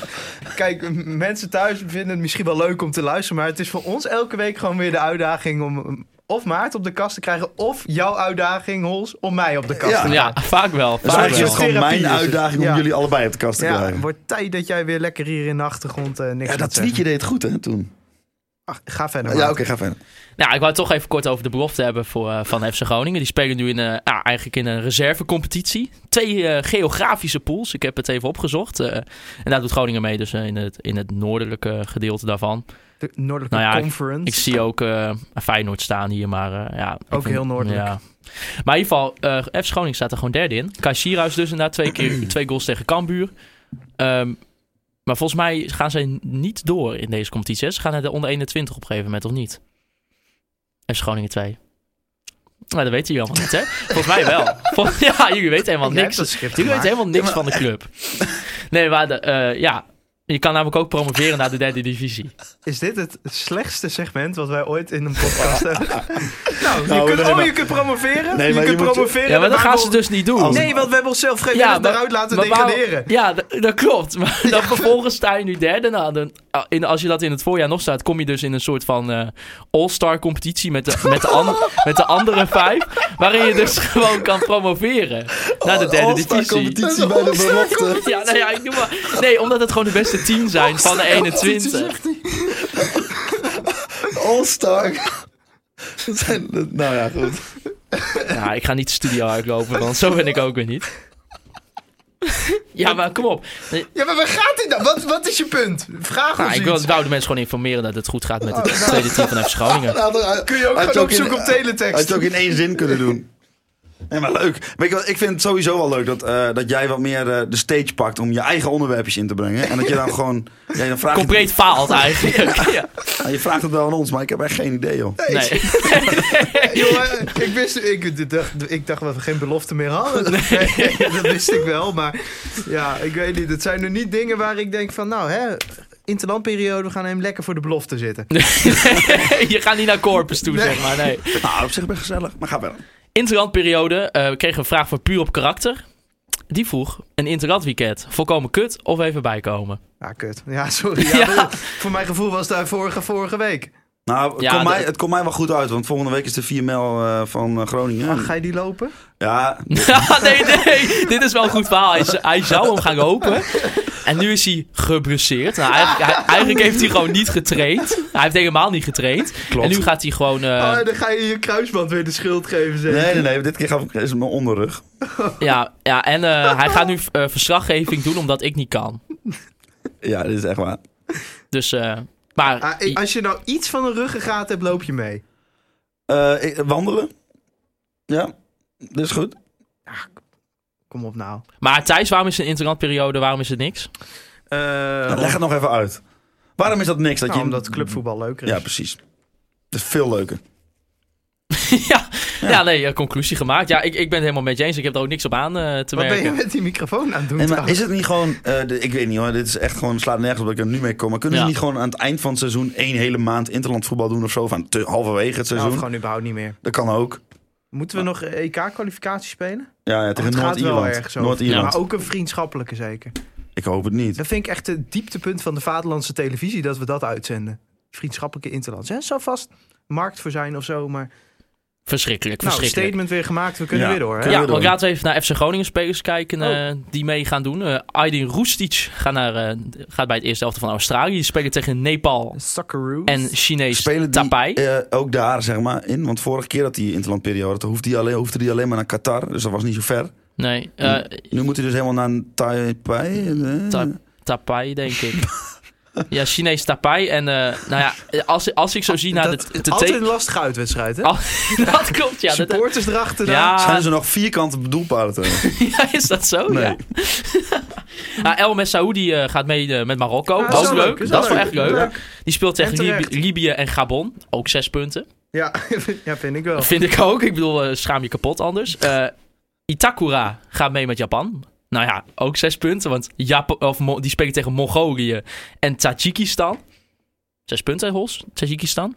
kijk, m- mensen thuis vinden het misschien wel leuk om te luisteren. Maar het is voor ons elke week gewoon weer de uitdaging om mm, of Maarten op de kast te krijgen. Of jouw uitdaging, Hols, om mij op de kast Ja. te ja, vaak wel. Dus Vaak eigenlijk is wel. het gewoon Therapie mijn is het. uitdaging om Ja. jullie allebei op de kast te Ja, krijgen. het wordt tijd dat jij weer lekker hier in de achtergrond eh, niks Ja, dat gaat tweetje deed het goed, hè, toen. zeggen. Ach, ga verder. Ja, oké, Maarten. ga verder. Nou, ik wou het toch even kort over de belofte hebben voor, eh, van FC Groningen. Die spelen nu in, eh, ja, eigenlijk in een reservecompetitie. Twee eh, geografische pools. Ik heb het even opgezocht. eh, en daar doet Groningen mee, dus eh, in, het, in het noordelijke gedeelte daarvan. De Noordelijke Nou ja, Conference. Ik zie ook eh, Feyenoord staan hier, maar eh, ja. ik Ook vind- heel noordelijk. Ja. Maar in ieder geval, eh F. Schoning staat er gewoon derde in. Kai Sierhuis dus inderdaad twee, keer, twee goals tegen Cambuur. Ehm, maar volgens mij gaan zij niet door in deze competitie. hè? Ze gaan naar de onder 21 op een gegeven moment, of niet? F. Schoningen 2. Maar Nou, dat weten jullie allemaal niet, hè? Volgens mij wel. Vol- ja, jullie weten helemaal Jij niks. hebt dat script Jullie weten gemaakt. helemaal niks van de club. Nee, maar de, eh, ja, je kan namelijk ook promoveren naar de derde divisie. Is dit het slechtste segment wat wij ooit in een podcast hebben? nou, Nou, je, kunt, nee, oh, maar- je kunt promoveren. Nee, je maar kunt je moet- promoveren. Ja, maar dat daarna gaan ze wel- dus niet doen. Nee, want we hebben onszelf vrijwillig maar- daaruit laten maar waarom- degraderen. ja, d- dat klopt. Maar dan vervolgens sta je nu derde. Nou, dan, ah, in, als je dat in het voorjaar nog staat, kom je dus in een soort van eh, all-star competitie met de, met, de an- met de andere vijf. Waarin je dus gewoon kan promoveren naar de derde divisie. competitie bij de belofte. Ja, nou ja, ik noem maar. Nee, omdat het gewoon de beste tien zijn van de 21. All-star. Dat zijn- dat- nou ja, goed. Nou, ik ga niet de studio uitlopen, want zo ben ik ook weer niet. Ja, maar kom op. Nee, Ja, maar waar gaat dit dan? Wat, wat is je punt? Vraag nou, ons ik wil, iets. ik wou de mensen gewoon informeren dat het goed gaat met Oh, nou. het tweede team van FC Groningen. Nou, dan- Kun je ook had gewoon in- opzoeken op teletext. Had je het ook in één zin kunnen doen. Ja, maar leuk. Weet je wat, ik vind het sowieso wel leuk dat, eh, dat jij wat meer eh, de stage pakt om je eigen onderwerpjes in te brengen. En dat je dan gewoon... Ja, dan vraag je- Compleet faalt eigenlijk. Ja. Nou, je vraagt het wel aan ons, maar ik heb echt geen idee, joh. Nee. Jongen, ik wist, ik dacht, ik dacht dat we geen belofte meer hadden. Nee, dat wist ik wel, maar ja, ik weet niet. Het zijn nu niet dingen waar ik denk van, nou hè, interlandperiode, we gaan hem lekker voor de belofte zitten. Je gaat niet naar Corpus toe, Nee. zeg maar. Nee. Nou, op zich best gezellig, maar ga verder. Interlandperiode, eh, we kregen een vraag voor puur op karakter. Die vroeg, een interland weekend, volkomen kut of even bijkomen? Ah, kut. Ja, sorry. Ja, Ja. bedoel, Voor mijn gevoel was daar vorige, vorige week. Nou, het, Ja, komt mij, dat- het komt mij wel goed uit, want volgende week is de 4 mijl eh, van eh, Groningen. Ach, ga je die lopen? Ja, Ja, Ah, nee, nee. Dit is wel een goed verhaal. Hij, z- hij zou hem gaan lopen. En nu is hij geblesseerd. Nou, eigenlijk, hij- eigenlijk heeft hij gewoon niet getraind. Hij heeft helemaal niet getraind. Klopt. En nu gaat hij gewoon... eh, Ah, dan ga je je kruisband weer de schuld geven, zeg. nee, nee, nee. Dit keer gaf ik, is het mijn onderrug. ja, ja, en eh, hij gaat nu eh, verslaggeving doen omdat ik niet kan. Ja, dit is echt waar. Dus, eh, maar... Ah, ik- als je nou iets van een ruggengraat hebt, loop je mee. Eh, ik- wandelen. Ja, dat is goed. Kom op nou. Maar Thijs, waarom is het een interlandperiode? Waarom is het niks? Eh, Leg het nog even uit. Waarom is dat niks? Dat nou, je... omdat clubvoetbal leuker is. Ja, precies. Dat is veel leuker. ja, ja. nee, eh, conclusie gemaakt. Ja, ik, ik ben het helemaal met je eens. Ik heb er ook niks op aan eh, te Wat ben merken. je met die microfoon aan het doen? En maar trouwens? is het niet gewoon, eh, de- ik weet niet hoor, dit is echt gewoon, slaat nergens op dat ik er nu mee kom. Maar kunnen Ja. ze niet gewoon aan het eind van het seizoen één hele maand interland voetbal doen of zo? Van te, halverwege het Nou, seizoen? of gewoon überhaupt niet meer. Dat kan ook. Moeten we nog eh, EK-kwalificatie spelen? Ja, ja tegen Het gaat wel Noord-Ierland. ergens over. Noord-Ierland. Maar ook een vriendschappelijke zeker. Ik hoop het niet. Dat vind ik echt het dieptepunt van de vaderlandse televisie dat we dat uitzenden. Vriendschappelijke interlands. Er zou vast markt voor zijn of zo, maar... Verschrikkelijk, Nou, verschrikkelijk. statement weer gemaakt. We kunnen Ja. weer door, hè? Kunnen Ja, we want doen. laten we even naar FC Groningen spelers kijken eh, Oh. die mee gaan doen. Eh Aydin Roestic gaat, naar, eh, gaat bij het eerste elftal van Australië. Die spelen tegen Nepal Socceroos. en Chinees Spelen die Tapai. eh, ook daar zeg maar in? Want vorige keer dat die interlandperiode, toen hoefde hij alleen, hoefde die alleen maar naar Qatar. Dus dat was niet zo ver. nee, eh, Hmm. Nu moet hij dus helemaal naar Taipei. eh. Ta- Tapai denk ik. ja, Chinees Tapai. En eh, nou ja, als, als ik zo zie naar dat, de... de altijd te- een lastige uitwedstrijd, hè? Al- dat komt, ja. dat- Supporters erachter. ja, Zijn ze nog vierkante doelpalen? te- ja, is dat zo? Nee. Ja. Nou, El Messaoudi eh, gaat mee eh, met Marokko. Ah, dat is wel is leuk. leuk, is Dat is wel wel echt leuk. leuk. Die speelt tegen En Libi- terecht. Libië en Gabon. Ook zes punten. Ja. ja, vind ik wel. Dat vind ik ook. Ik bedoel, eh, schaam je kapot anders. Eh, Itakura gaat mee met Japan. Nou ja, ook zes punten. Want Japan, of Mo- die spelen tegen Mongolië en Tajikistan. Zes punten, Hols. Tajikistan.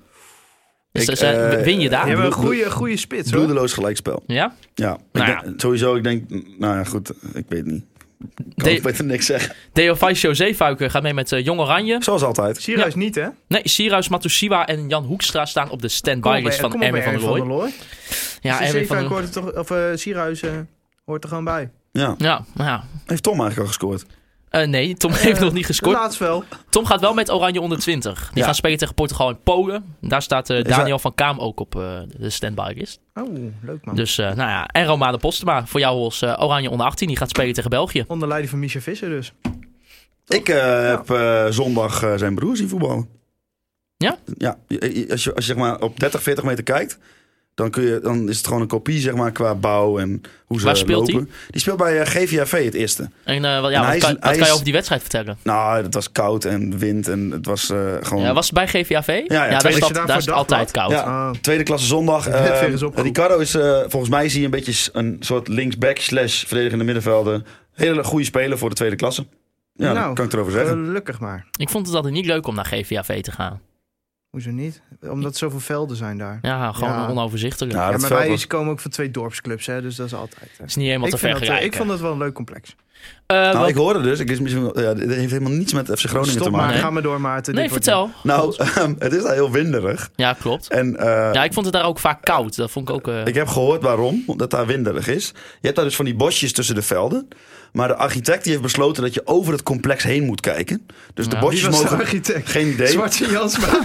Dus Ik, dat is, eh, eh, win je daar? Je Ja? hebt een goede, goede spits, hoor. Bloedeloos gelijkspel. Ja, ik Nou denk- sowieso. Ik denk, nou ja, goed, ik weet niet. Ik kan De- ook beter niks zeggen. Deo Faisio Zeefuiken gaat mee met eh, Jong Oranje. Zoals altijd. Sierhuis niet, hè? Nee, Siraus Matusiwa en Jan Hoekstra staan op de Kom stand-by op, list eh, van kom op, Erwin eh, van der Looy. Looy. Ja, Dus Erwin Zeefuik van der Looy. hoort er toch, of eh Sierhuis eh, hoort er gewoon bij. Ja. Ja, nou ja. Heeft Tom eigenlijk al gescoord? Eh, nee, Tom heeft nog niet gescoord. Laatst wel. Tom gaat wel met Oranje onder 20. Die Ja. gaan spelen tegen Portugal en Polen. Daar staat eh, dat- Daniel van Kaam ook op eh, de standby list. Oh, leuk man. Dus eh, nou ja, en Romane Postema voor jou als eh, Oranje onder 18. Die gaat spelen tegen België. Onder leiding van Micha Visser dus. Ik eh, heb eh, zondag eh, zijn broer zien voetballen. Ja? Ja. je- je- Als je, als je zeg maar op 30, 40 meter kijkt, Dan, kun je, dan is het gewoon een kopie, zeg maar, qua bouw en hoe ze Waar speelt lopen. Die speelt bij eh, GVAV het eerste. En eh, wel, ja, En wat, hij is- kan, wat hij kan je is- over die wedstrijd vertellen? Nou, het was koud en wind en het was eh, gewoon... Ja, was het bij GVAV? ja, daar is, tweede- dat, daarvoor daar is het dacht altijd koud. Ja, Ah. tweede klasse zondag. werd Eh, weer eens opgeroepen. Ricardo is eh, volgens mij zie je een beetje s- een soort linksback slash verdedigende middenvelder. Hele goede speler voor de tweede klasse. Ja, Nou, dat kan ik erover zeggen. Gelukkig maar. Ik vond het altijd niet leuk om naar GVAV te gaan. Hoezo niet? Omdat zoveel velden zijn daar. Ja, gewoon Ja. onoverzichtelijk. Ja, Ja, dat maar veld wij was- komen ook van twee dorpsclubs, hè, dus dat is altijd. eh. is niet helemaal te Ik, vind dat, eh, vergelijken. ik vond het wel een leuk complex. Eh, Nou, wel- ik hoorde dus, ik is misschien, wel- ja, dit heeft helemaal niets met FC Groningen Stop te maar, maken. Nee. ga maar door Maarten. Nee, Dit wordt vertel. Nou, het is daar heel winderig. Ja, klopt. En eh, Ja, ik vond het daar ook vaak koud. Dat vond ik ook... eh, ik heb gehoord waarom, omdat daar winderig is. Je hebt daar dus van die bosjes tussen de velden. Maar de architect die heeft besloten dat je over het complex heen moet kijken. Dus de Ja. niet. bosjes Wie was de mogen... architect? Geen idee. Zwarte Jansma.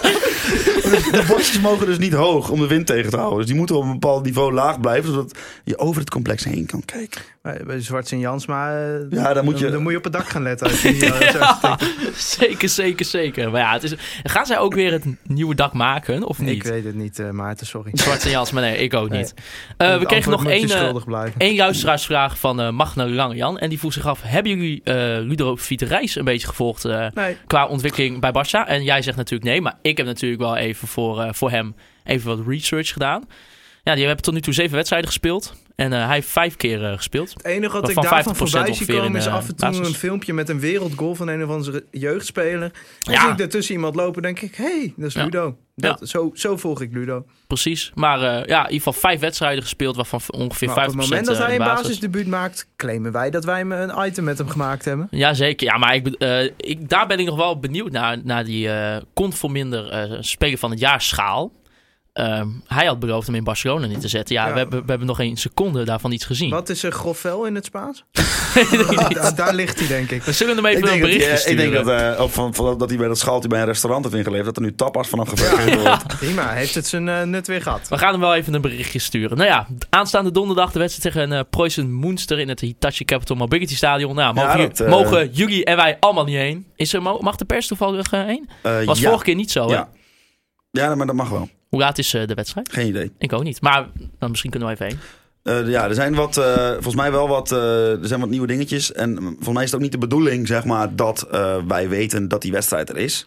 De bosjes mogen dus niet hoog om de wind tegen te houden. Dus die moeten op een bepaald niveau laag blijven, zodat je over het complex heen kan kijken. Bij, bij Zwarte en Jansma, eh, Ja, dan moet je- dan, moet je op het dak gaan letten. Als je die, eh, zo architect- Zeker, zeker, zeker. Maar ja, het is, gaan zij ook weer het nieuwe dak maken of Ik niet? weet het niet, eh, Maarten, sorry. Zwarte jas, maar nee, ik ook niet. Eh, we Het kregen antwoord nog moet je één, eh, schuldig blijven. één luisteraarsvraag van eh Magna Langjan. En die vroeg zich af, hebben jullie eh Ludo Vieterijs een beetje gevolgd eh, Nee. qua ontwikkeling bij Barça? En jij zegt natuurlijk nee, maar ik heb natuurlijk wel even voor, eh, voor hem even wat research gedaan. Ja, die hebben tot nu toe zeven wedstrijden gespeeld. En eh, hij heeft vijf keer eh, gespeeld. Het enige wat ik Waarvan daarvan 50% voorbij zie ongeveer komen in, is eh, af en toe basis. een filmpje met een wereldgoal van een of andere jeugdspeler. Dan Ja. zie ik daartussen iemand lopen denk ik, hé, hey, dat is Ja. Ludo. Dat, zo, zo volg ik Ludo. Precies. Maar eh, ja, in ieder geval vijf wedstrijden gespeeld, waarvan ongeveer 50% Maar op het moment dat eh, hij de een basis. basisdebuut maakt, claimen wij dat wij hem een item met hem gemaakt hebben. Jazeker, ja, maar ik, be- eh, ik, daar ben ik nog wel benieuwd naar, naar die eh conforminder eh speler van het jaar schaal. Ehm, hij had beloofd hem in Barcelona niet te zetten. Ja, Ja. We, hebben, we hebben nog geen seconde daarvan iets gezien. Wat is er grofvel in het Spaans? Ah, Weet ik niet. daar, daar ligt hij denk ik. We zullen hem even Ik een denk, dat, berichtje eh, ik sturen. denk dat, eh, ook van, van- dat hij bij dat schaaltje bij een restaurant heeft ingeleverd, dat er nu tapas vanaf gevergd wordt. Prima, heeft het zijn eh, nut weer gehad. We gaan hem wel even een berichtje sturen. Nou ja, aanstaande donderdag de wedstrijd tegen eh Preußen Münster in het Hitachi Capital Mobility Stadion. Nou, mogen, dat, ju- eh, mogen jullie en wij allemaal niet heen? Is er, mo- mag de pers toevallig eh, heen? Eh, Was ja. vorige keer niet zo, hè? Ja. ja, maar dat mag wel. Hoe laat is eh, de wedstrijd? Geen idee. Ik ook niet. Maar dan misschien kunnen we even heen. Eh, ja, er zijn wat, eh, volgens mij wel wat, eh, er zijn wat nieuwe dingetjes. En mm, volgens mij is het ook niet de bedoeling, zeg maar, dat eh, wij weten dat die wedstrijd er is.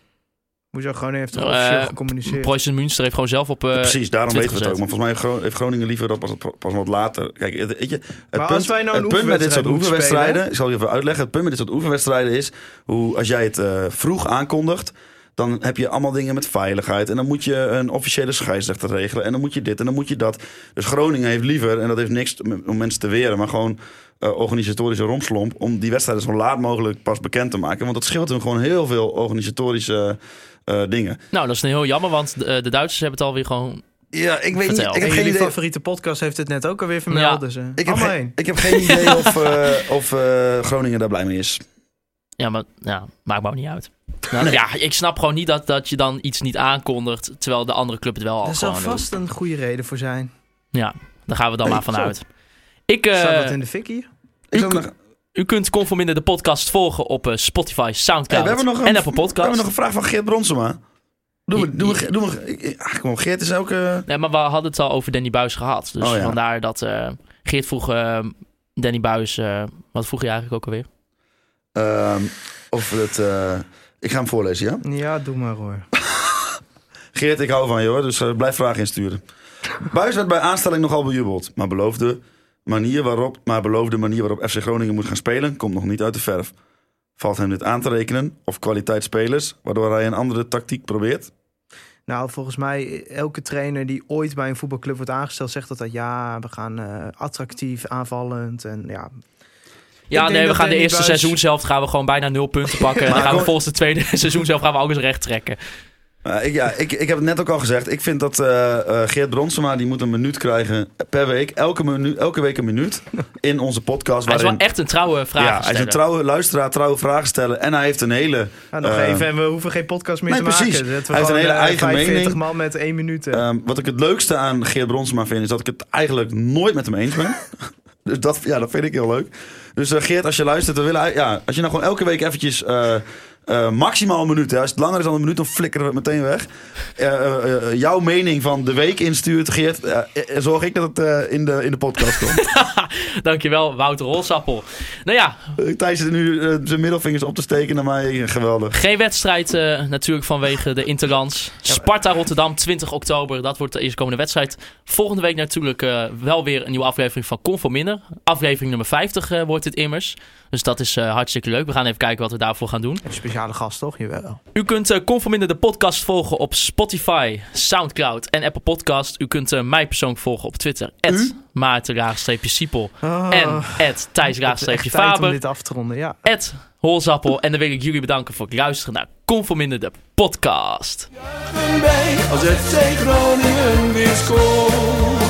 Hoezo gewoon heeft Nou, officieel eh, gecommuniceerd. Preußen Münster heeft gewoon zelf op. eh, Precies, daarom Twitter weten we het ook. gezet. Maar volgens mij Gro- heeft Groningen liever dat pas, pas wat later. Kijk, het, weet je, het Maar punt, als wij nou een het punt met dit soort oefenwedstrijd moeten oefenwedstrijden... Ik zal je even uitleggen. Het punt met dit soort oefenwedstrijden is... Hoe, als jij het eh, vroeg aankondigt... Dan heb je allemaal dingen met veiligheid. En dan moet je een officiële scheidsrechter regelen. En dan moet je dit en dan moet je dat. Dus Groningen heeft liever, en dat heeft niks om- om mensen te weren, maar gewoon eh, organisatorische romslomp. Om die wedstrijden zo laat mogelijk pas bekend te maken. Want dat scheelt hun gewoon heel veel organisatorische eh, dingen. Nou, dat is heel jammer, want de, eh, de Duitsers hebben het alweer gewoon. Ja, ik weet Vertel. niet. Ik En heb geen jullie idee. favoriete podcast heeft het net ook alweer vermeld. Ja. Dus, eh, Ik heb, allemaal geen, heen. ik heb geen idee of, eh, of eh, Groningen daar blij mee is. Ja, maar ja, maakt me ook niet uit. Nou, Ja, ik snap gewoon niet dat, dat je dan iets niet aankondigt. Terwijl de andere club het wel al Daar zal Oh, gewoon doet. vast een goede reden voor zijn. Ja, daar gaan we dan maar zo. vanuit. Ik, eh, Staat dat in de fik hier? Ik U zou kun- nog- u kunt Conforminder de podcast volgen op eh, Spotify, Hey, we Soundcloud hebben nog een, en Apple We hebben Podcast. nog een vraag van Geert Bronsema. Doe Je- we, doe je- we, doe we, ik- ik- ah, kom op, Geert is ook... eh, Nee, maar we hadden het al over Danny Buis gehad. Dus Oh, ja. vandaar dat eh, Geert vroeg eh, Danny Buis. eh, wat vroeg je eigenlijk ook alweer? ehm, of het... eh, ik ga hem voorlezen, ja? Ja, doe maar hoor. Geert, ik hou van je hoor, dus eh, blijf vragen insturen. Buis werd bij aanstelling nogal bejubeld, maar beloofde manier waarop, maar beloofde manier waarop FC Groningen moet gaan spelen komt nog niet uit de verf. Valt hem dit aan te rekenen of kwaliteit spelers, waardoor hij een andere tactiek probeert? Nou, volgens mij, elke trainer die ooit bij een voetbalclub wordt aangesteld, zegt dat dat ja, we gaan eh, attractief, aanvallend. En ja, Ja, denk nee, we dat gaan de Danny eerste Buis- seizoen zelf gaan we gewoon bijna nul punten pakken. en dan Maar gaan we kom- volgens het tweede seizoen zelf gaan we alles recht trekken. Nou, ik, ja, ik, ik heb het net ook al gezegd. Ik vind dat eh, eh, Geert Bronsema die moet een minuut krijgen per week. Elke, minu- elke week een minuut in onze podcast. Hij is wel waarin- echt een trouwe vraag. ja, hij is een trouwe luisteraar, trouwe vragen stellen. En hij heeft een hele... nou, nog eh, even en we hoeven geen podcast meer nee, te maken. precies. Zetten Hij we heeft gewoon, een hele eh, eigen 45 mening. man met één minuut. eh. ehm, wat ik het leukste aan Geert Bronsema vind... is dat ik het eigenlijk nooit met hem eens ben. dus dat, ja, dat vind ik heel leuk. Dus eh, Geert, als je luistert... We willen, ei- ja, als je nou gewoon elke week eventjes... eh, eh, maximaal een minuut. Hè. Als het langer is dan een minuut, dan flikkeren we het meteen weg. Eh, eh, eh, jouw mening van de week instuurt, Geert. eh, eh, zorg ik dat het eh, in, de, in de podcast komt. Dankjewel, Wouter Holsappel. Nou ja, Thijs zit nu eh, zijn middelvingers op te steken naar mij. Geweldig. geen wedstrijd eh, natuurlijk vanwege de Interlands. Sparta-Rotterdam, 20 oktober. Dat wordt de eerstkomende wedstrijd. Volgende week natuurlijk eh, wel weer een nieuwe aflevering van Conforminder. Aflevering nummer 50 eh, wordt dit immers. Dus dat is eh, hartstikke leuk. We gaan even kijken wat we daarvoor gaan doen. Een speciale gast, toch? Jawel. U kunt eh, Conforminder de podcast volgen op Spotify, Soundcloud en Apple Podcast. U kunt eh, mij persoonlijk volgen op Twitter. Maarten-Siepel Oh, en echt tijd om Thijs-Faber. dit af te ronden, ja. Ed Holzappel. En dan wil ik jullie bedanken voor het luisteren naar Conforminder de podcast. Bij als FC Groningen weer scoort.